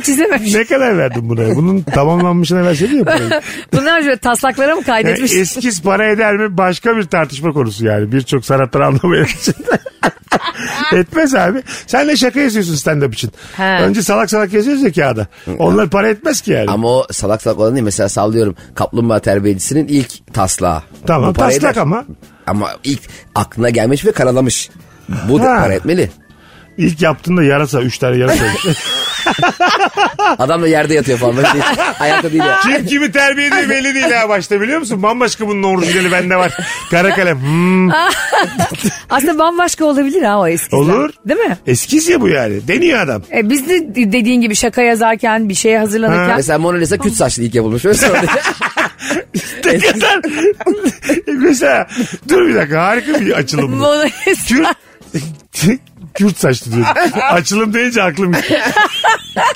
çizememiş. ne kadar verdin buna? Bunun tamamlanmışına verseydin ya parayı. Bunlar şöyle taslaklara mı Yani kaydetmiş? eskiz para eder mi? Başka bir tartışma konusu yani. Birçok sanatları anlamayan için. etmez abi. Sen de şaka yazıyorsun stand-up için. He. Önce salak salak yazıyoruz ya kağıda. Onlar para etmez ki yani. Ama o salak salak olan değil. Mesela sallıyorum kaplumbağa terbiyecisinin ilk taslağı. tamam Bu para taslak eder. ama. Ama ilk aklına gelmiş ve karalamış. Bu da Ha. para etmeli. İlk yaptığında yarasa. Üç tane yarasa. Adam da yerde yatıyor falan. Böyle Ayakta değil ya. Kim kimi terbiye ediyor belli değil ha başta biliyor musun? Bambaşka bunun orijinali bende var. Kara kalem. Hmm. Aslında bambaşka olabilir ha o eskizler. Olur. Değil mi? Eskiz ya bu yani. Deniyor adam. E biz de dediğin gibi şaka yazarken bir şeye hazırlanırken. Mesela Mona Lisa küt saçlı ilk yapılmış. Öyle sonra- Ne kadar- Mesela dur bir dakika harika bir açılım bu. Mona Lisa. Kürt, Kürt saçlı diyor. Açılım deyince aklım gitti.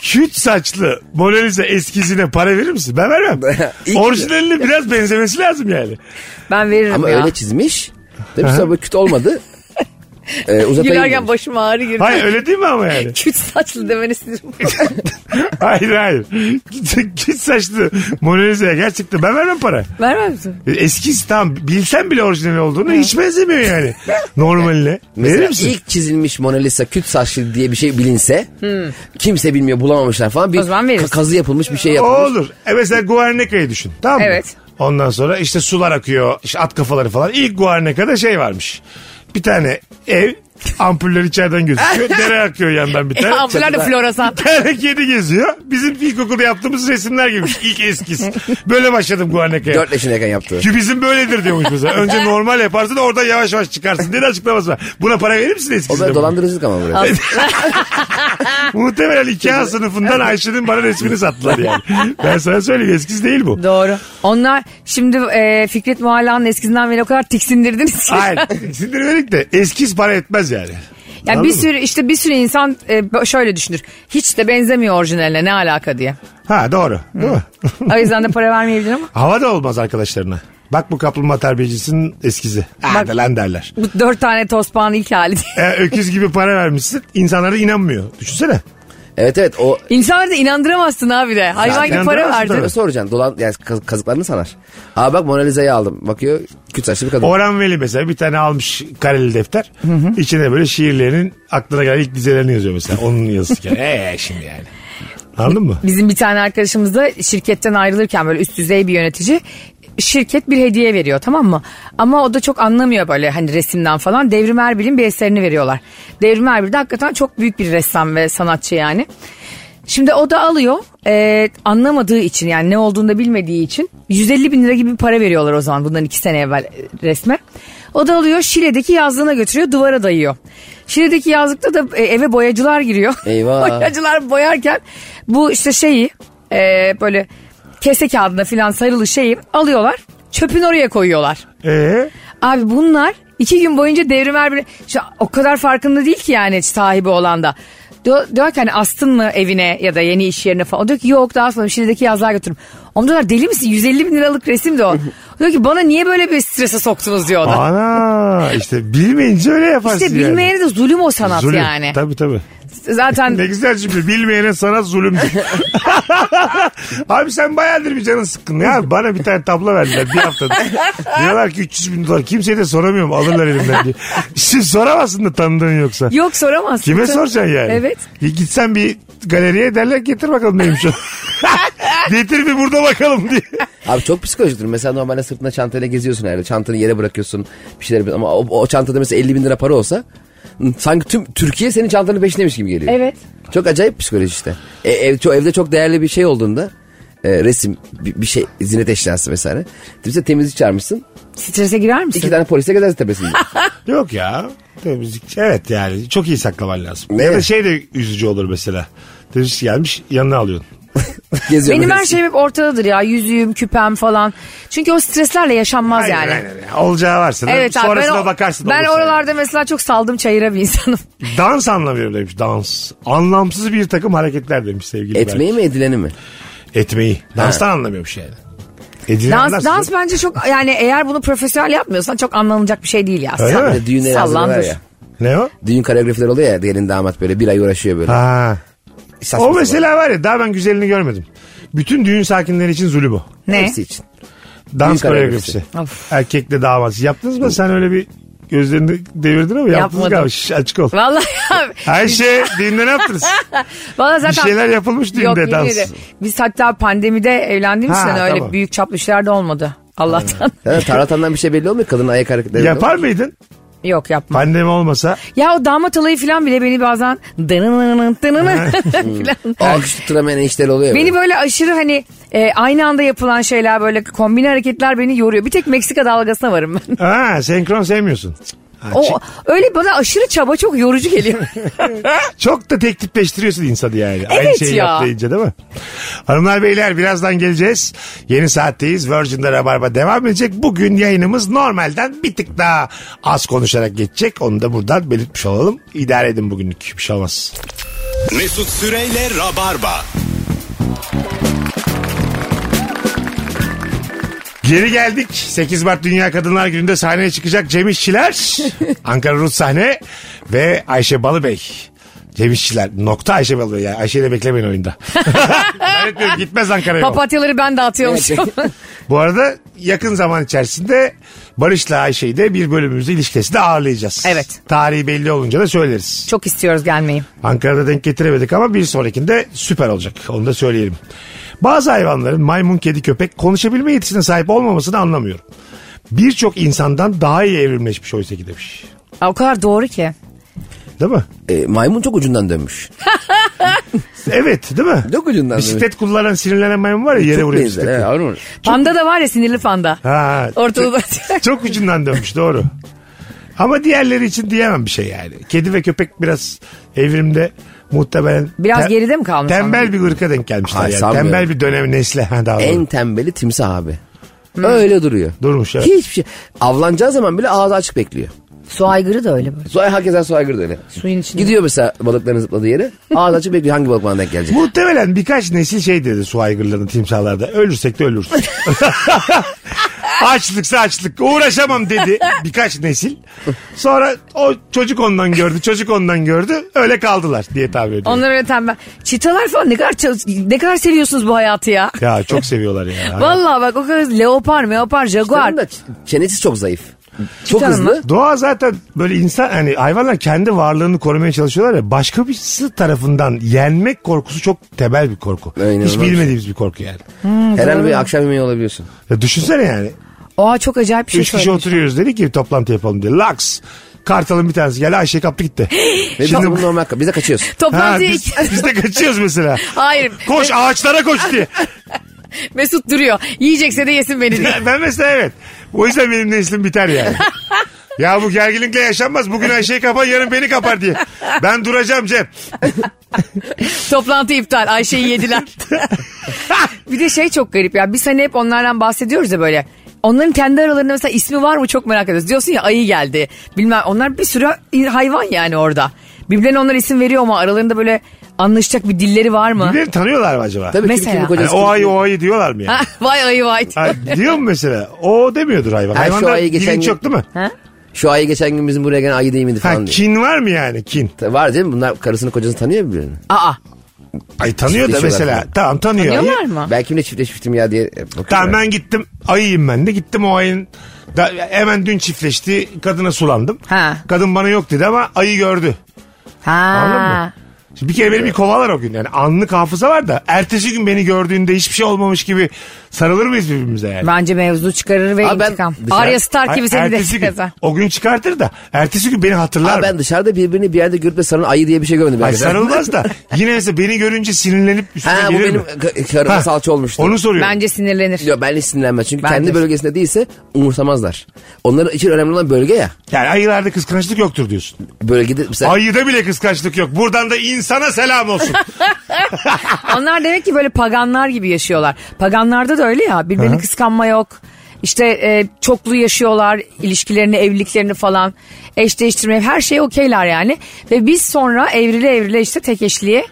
Kürt saçlı Mona Lisa eskizine para verir misin? Ben vermem. İyi ki- Orijinaline biraz benzemesi lazım yani. Ben veririm Ama ya. öyle çizmiş. Tabii sonra bu küt olmadı. Ee, uzatayım Gülerken demiş. başım ağrı girdi. Hayır öyle değil mi ama yani? Küt saçlı demeni sinirim. Hayır hayır. Kürt saçlı Mona Lisa'ya gerçekten ben vermem para. Vermez misin? Eskisi tam bilsen bile orijinal olduğunu hiç benzemiyor yani. Normaline. Verir Mesela misin? ilk çizilmiş Mona Lisa küt saçlı diye bir şey bilinse kimse bilmiyor bulamamışlar falan. Bir Hmm. O zaman veririz. ka- kazı yapılmış bir şey O yapılmış. olur. E mesela Guernica'yı düşün. Tamam mı? Evet. Ondan sonra işte sular akıyor. işte at kafaları falan. İlk Guernica'da şey varmış. Bir tane ev ampuller içeriden gözüküyor. Dere akıyor yandan bir E, tane. Ampuller de floresan. Tane kedi geziyor. Bizim ilkokulda yaptığımız resimler gibi. İlk eskisi. Böyle başladım Guernica'ya. Dört yaşındayken yaptı. Kübizm böyledir diyormuş mesela. Önce normal yaparsın orada yavaş yavaş çıkarsın diye de açıklaması var. Buna para verir misin O eskisi? da dolandırıcılık ama burası. Muhtemelen iki A sınıfından Ayşe'nin bana resmini sattılar yani. Ben sana söyleyeyim eskisi değil bu. Doğru. Onlar şimdi e, Fikret Muhalla'nın eskizinden beni o kadar tiksindirdiniz ki. Hayır. Sindirmelik de eskiz para etmez yani. Yani Anladın bir mı? sürü işte bir sürü insan e, şöyle düşünür. Hiç de benzemiyor orijinaline ne alaka diye. Ha doğru. Değil mi? O yüzden de para vermeyebilir ama. Hava da olmaz arkadaşlarına. Bak bu kaplumbağa terbiyecisinin eskizi. Hadi lan derler. Bu dört tane tospağın ilk hali diye. E, öküz gibi para vermişsin. İnsanlara inanmıyor. Düşünsene. Evet evet o İnsanları da inandıramazsın abi de. Hayvan gibi para inandıramazsın verdi. tabii. Ne soracaksın? Dolan, yani kaz- kazıklarını sanar. Aa bak Mona Lisa'yı aldım. Bakıyor küt saçlı bir kadın. Orhan Veli mesela bir tane almış kareli defter. İçine böyle şiirlerinin aklına gelen ilk dizelerini yazıyor mesela. Onun yazısı. Eee şimdi yani. Anladın mı? Bizim bir tane arkadaşımız da şirketten ayrılırken böyle üst düzey bir yönetici şirket bir hediye veriyor tamam mı? Ama o da çok anlamıyor böyle hani resimden falan. Devrim Erbil'in bir eserini veriyorlar. Devrim Erbil de hakikaten çok büyük bir ressam ve sanatçı yani. Şimdi o da alıyor Ee, anlamadığı için yani ne olduğunu da bilmediği için 150 bin lira gibi bir para veriyorlar o zaman bundan iki sene evvel e, resme. O da alıyor Şile'deki yazlığına götürüyor duvara dayıyor. Şile'deki yazlıkta da e, eve boyacılar giriyor. Eyvah. boyacılar boyarken bu işte şeyi e, böyle kese kağıdına filan sarılı şeyi alıyorlar. Çöpün oraya koyuyorlar. Ee? Abi bunlar iki gün boyunca devrim her Şu, o kadar farkında değil ki yani sahibi olan da. Diyor, diyor ki hani astın mı evine ya da yeni iş yerine falan. O diyor ki yok daha sonra şimdideki yazlığa götürürüm. Ama diyorlar deli misin 150 bin liralık resim de o. diyor ki bana niye böyle bir strese soktunuz diyor o da. Ana işte bilmeyince öyle yaparsın İşte bilmeyene de zulüm o sanat Zulüm. yani. Hani- Tabii tabii. Zaten Ne güzel şimdi bilmeyene sana zulümdür. Abi sen bayağıdır bir canın sıkkın ya. Bana bir tane tablo verdiler bir haftada. Diyorlar ki 300 bin dolar. Kimseye de soramıyorum alırlar elimden diye. Şimdi soramazsın da tanıdığın yoksa. yok soramazsın. Kime Tabii. soracaksın yani? Evet. Ya Gitsen bir galeriye derler ki, getir bakalım neymiş o. getir bir burada bakalım diye. Abi çok psikolojiktir. Mesela normalde sırtında çantayla geziyorsun herhalde. Çantanı yere bırakıyorsun. Bir şeyler yapıyorsun. ama o, o çantada mesela 50 bin lira para olsa sanki tüm Türkiye senin çantanın peşindemiş gibi geliyor. Evet. Çok acayip psikoloji işte. E, ev, ço- evde çok değerli bir şey olduğunda e, resim bir, bir şey zinet eşyası vesaire. Mesela temizlik çağırmışsın. Strese girer misin? iki tane polise gidersin tepesinde. Yok ya. Temizlik. Evet yani çok iyi saklaman lazım. Ne? Ya da şey de üzücü olur mesela. Temizlik gelmiş yanına alıyorsun. Geziyor Benim böyle. her şeyim hep ortadadır ya. Yüzüğüm, küpem falan. Çünkü o streslerle yaşanmaz Aynen, yani. aynen. Olacağı varsa. Evet abi ben, Sonrasına o- bakarsın. ben olursa oralarda mesela çok saldım çayıra bir insanım. yani. Dans anlamıyorum demiş. Dans. Anlamsız bir takım hareketler demiş sevgili Berk. Etmeyi mi edileni mi? Etmeyi. Danstan anlamıyormuş yani. Edilen Dans, dans- dans bence çok yani eğer bunu profesyonel yapmıyorsan çok anlanılacak bir şey değil ya. Öyle mi? Bir de düğünleri hazırlıyorlar Sallandır. ya. Ne o? Düğün koreografileri oluyor ya gelin damat böyle bir ay uğraşıyor böyle. Ha. Saçma O sapan. mesela var ya daha ben güzelini görmedim. Bütün düğün sakinleri için zulüm o. Ne? Hepsi için. Dans Büyük koreografisi. Of. Erkekle damat. Yaptınız mı? Sen öyle bir gözlerini devirdin ama yaptınız Yapmadım. galiba. Şş, açık ol. Vallahi abi. Ayşe düğünde ne yaptınız? Vallahi bir zaten şeyler yapılmış Yok, düğünde yemin dans. ederim. Biz hatta pandemide evlendiğimiz Ha, için öyle tamam. büyük çaplı işler de olmadı. Allah'tan. Ya Taratandan bir şey belli olmuyor. Kadın ayak hareketleri. Yapar mıydın? Yok yapma. Pandemi olmasa. Ya o damat olayı falan bile beni bazen dınınının dınının falan. Alkış tutturamayan enişteler oluyor ya. Beni böyle. böyle aşırı hani e, aynı anda yapılan şeyler böyle kombine hareketler beni yoruyor. Bir tek Meksika dalgasına varım ben. Ha, senkron sevmiyorsun. Ha, O, öyle bana aşırı çaba çok yorucu geliyor. Çok da teklifleştiriyorsun insanı yani. Aynı Evet şeyi ya. yaplayınca değil mi? Hanımlar beyler birazdan geleceğiz. Yeni saatteyiz. Virgin'de Rabarba devam edecek. Bugün yayınımız normalden bir tık daha az konuşarak geçecek. Onu da buradan belirtmiş olalım. İdare edin bugünlük. Bir şey olmaz. Mesut Süreyle Rabarba. Geri geldik. 8 Mart Dünya Kadınlar Günü'nde sahneye çıkacak Cem İşçiler. Ankara Rus sahne ve Ayşe Balıbey. Cem İşçiler. Nokta Ayşe Balıbey. Yani Ayşe'yi de beklemeyin oyunda. Zannetmiyorum gitmez Ankara'ya. o. Papatyaları ben dağıtıyormuşum. Bu arada yakın zaman içerisinde Barış'la Ayşe'yi de bir bölümümüzde ilişkisi de ağırlayacağız. Evet. Tarihi belli olunca da söyleriz. çok istiyoruz gelmeyi. Ankara'da denk getiremedik ama bir sonrakinde süper olacak. Onu da söyleyelim. Bazı hayvanların maymun, kedi, köpek konuşabilme yetisine sahip olmamasını anlamıyorum. Birçok insandan daha iyi evrimleşmiş oysa ki demiş. Ya o kadar doğru ki. Değil mi? E, maymun çok ucundan dönmüş. Evet değil mi? Çok ucundan dönmüş. Bisiklet kullanan sinirlenen maymun var ya yere Çok vuruyor benzer, bisikleti. evet, var mı? Panda da var ya sinirli panda. Ha, Ortada Çok ucundan dönmüş doğru. Ama diğerleri için diyemem bir şey yani. Kedi ve köpek biraz evrimde muhtemelen... Biraz te- geride mi kalmış Tembel anladın? bir ırka denk gelmişler Hayır, yani. sanmıyorum. Tembel bir dönem nesle. Ha, daha doğru. En tembeli timsah abi. Öyle duruyor. Durmuş, evet. Hiçbir şey. Avlanacağı zaman bile ağzı açık bekliyor. Su aygırı da öyle böyle. Soy hakeza su aygırı da öyle. Suyun içinde. Gidiyor mesela balıkların zıpladığı yere. Ağzı açık bekliyor. Hangi balık bana denk gelecek? Muhtemelen birkaç nesil şey dedi su aygırlarının timsahlarda. Ölürsek de ölürüz. Açlıksa açlık. Uğraşamam dedi birkaç nesil. Sonra o çocuk ondan gördü, çocuk ondan gördü. Öyle kaldılar diye tahmin ediyorum. Onlar öyle tembel. Çitalar falan ne kadar çal- ne kadar seviyorsunuz bu hayatı ya. Ya çok seviyorlar ya. Vallahi bak o kadar leopar, meopar, jaguar. Bunun da ç- çenesi çok zayıf. Çok Çıkarın hızlı. lan. Doğa zaten böyle insan hani hayvanlar kendi varlığını korumaya çalışıyorlar ya başka birisi tarafından yenmek korkusu çok temel bir korku. Aynen Hiç öyle. bilmediğimiz bir korku yani. Herhalde bir akşam yemeği olabiliyorsun. Ya düşünsene yani. Oha çok acayip bir şey Üç kişi söyledi. oturuyoruz dedi ki toplantı yapalım diye. Laks. Kartal'ın bir tanesi geldi Ayşe kaptı gitti. Ve biz de bunu normal biz de kaçıyoruz. ha, Toplantıya biz, biz de kaçıyoruz mesela. Hayır. Koş ağaçlara koş diye. Mesut duruyor. Yiyecekse de yesin beni diye. Ya ben mesela evet. O yüzden benim neslim biter yani. Ya bu gerginlikle yaşanmaz. Bugün Ayşe'yi kapar yarın beni kapar diye. Ben duracağım Cem. Toplantı iptal. Ayşe'yi yediler. bir de şey çok garip ya. Biz hani hep onlardan bahsediyoruz ya böyle. Onların kendi aralarında mesela ismi var mı çok merak ediyoruz. Diyorsun ya ayı geldi. Bilmem onlar bir sürü hayvan yani orada. Birbirlerine onlar isim veriyor ama aralarında böyle anlaşacak bir dilleri var mı? Birileri tanıyorlar mı acaba? Tabii Mesela. Mesela. Kim, Hani o ayı o ayı diyorlar mı yani? Ha, vay ayı vay. Ha, diyor mu mesela? O demiyordur hayvan. Ha, şu Hayvanda ayı geçen bilinç gün- yok değil mi? Ha? Şu ayı geçen gün bizim buraya gelen ayı değil miydi Ha, falan diyor. kin var mı yani kin? Ta- Var değil mi? Bunlar karısını kocasını tanıyor mu birbirini? Aa. Ay tanıyor da Çiftleşiyorlar mesela. falan. Tamam tanıyor. ayı. Tanıyorlar mı? Belki kimle çiftleşmiştim ya diye. e, bakıyorum. Tamam ben gittim ayıyım ben de gittim o ayın da, hemen dün çiftleşti kadına sulandım. Ha. Kadın bana yok dedi ama ayı gördü. Anladın mı? Ha. Şimdi bir kere beni bir kovalar o gün yani anlık hafıza var da ertesi gün beni gördüğünde hiçbir şey olmamış gibi sarılır mıyız birbirimize yani? Bence mevzu çıkarır ve Aa, ben şey- intikam. dışarı- Arya Stark Ay, gibi seni de ertesi gün, çıkarsa. o gün çıkartır da ertesi gün beni hatırlar Aa, mı? ben dışarıda birbirini bir yerde görüp de sarılan ayı diye bir şey görmedim. Ay Belki de. sarılmaz da yine mesela beni görünce sinirlenip üstüne Ha bu gelir benim mi? ka- karıma Ha, salça olmuştu. Onu soruyorum. Bence sinirlenir. Yok ben hiç sinirlenmez. Çünkü Bence. kendi bölgesinde değilse umursamazlar. Onların için önemli olan bölge ya. Yani ayılarda kıskançlık yoktur diyorsun. Bölgede mesela Ayıda bile kıskançlık yok. Buradan da insana selam olsun. Onlar demek ki böyle paganlar gibi yaşıyorlar. Paganlarda da öyle ya birbirini kıskanma yok. İşte e, çoklu yaşıyorlar ilişkilerini, evliliklerini falan. Eş değiştirme her şey okeyler yani. Ve biz sonra evrile evrile işte tek eşliğe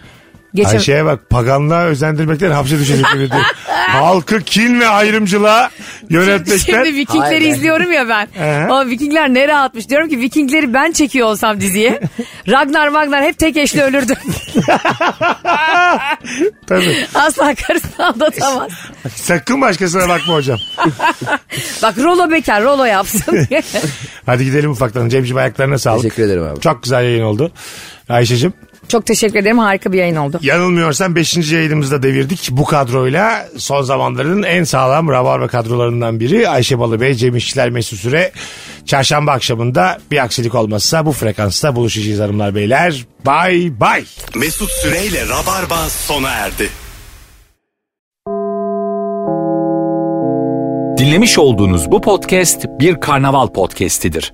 geçelim. Ayşe'ye bak paganlığa özendirmekten hapse düşecek biri diyor. Halkı kin ve ayrımcılığa yönetmekten. Şimdi Vikingleri Hayır be. izliyorum ya ben. Ee? Ama Vikingler ne rahatmış. Diyorum ki Vikingleri ben çekiyor olsam diziye. Ragnar Magnar hep tek eşli ölürdü. Tabii. Asla karısını aldatamaz. Sakın başkasına bakma hocam. Bak Rolo bekar Rolo yapsın diye. Hadi gidelim ufaktan. Cemciğim ayaklarına sağlık. Teşekkür ederim abi. Çok güzel yayın oldu. Ayşe'cim Çok teşekkür ederim harika bir yayın oldu. yanılmıyorsam 5. yayınımızda devirdik. Bu kadroyla son zamanların en sağlam rabarba kadrolarından biri Ayşe Balıbey, Cem İşçiler, Mesut Süre. Çarşamba akşamında bir aksilik olmazsa bu frekansta buluşacağız hanımlar beyler. Bay bay. Mesut Süreyle Rabarba sona erdi. Dinlemiş olduğunuz bu podcast bir karnaval podcastidir.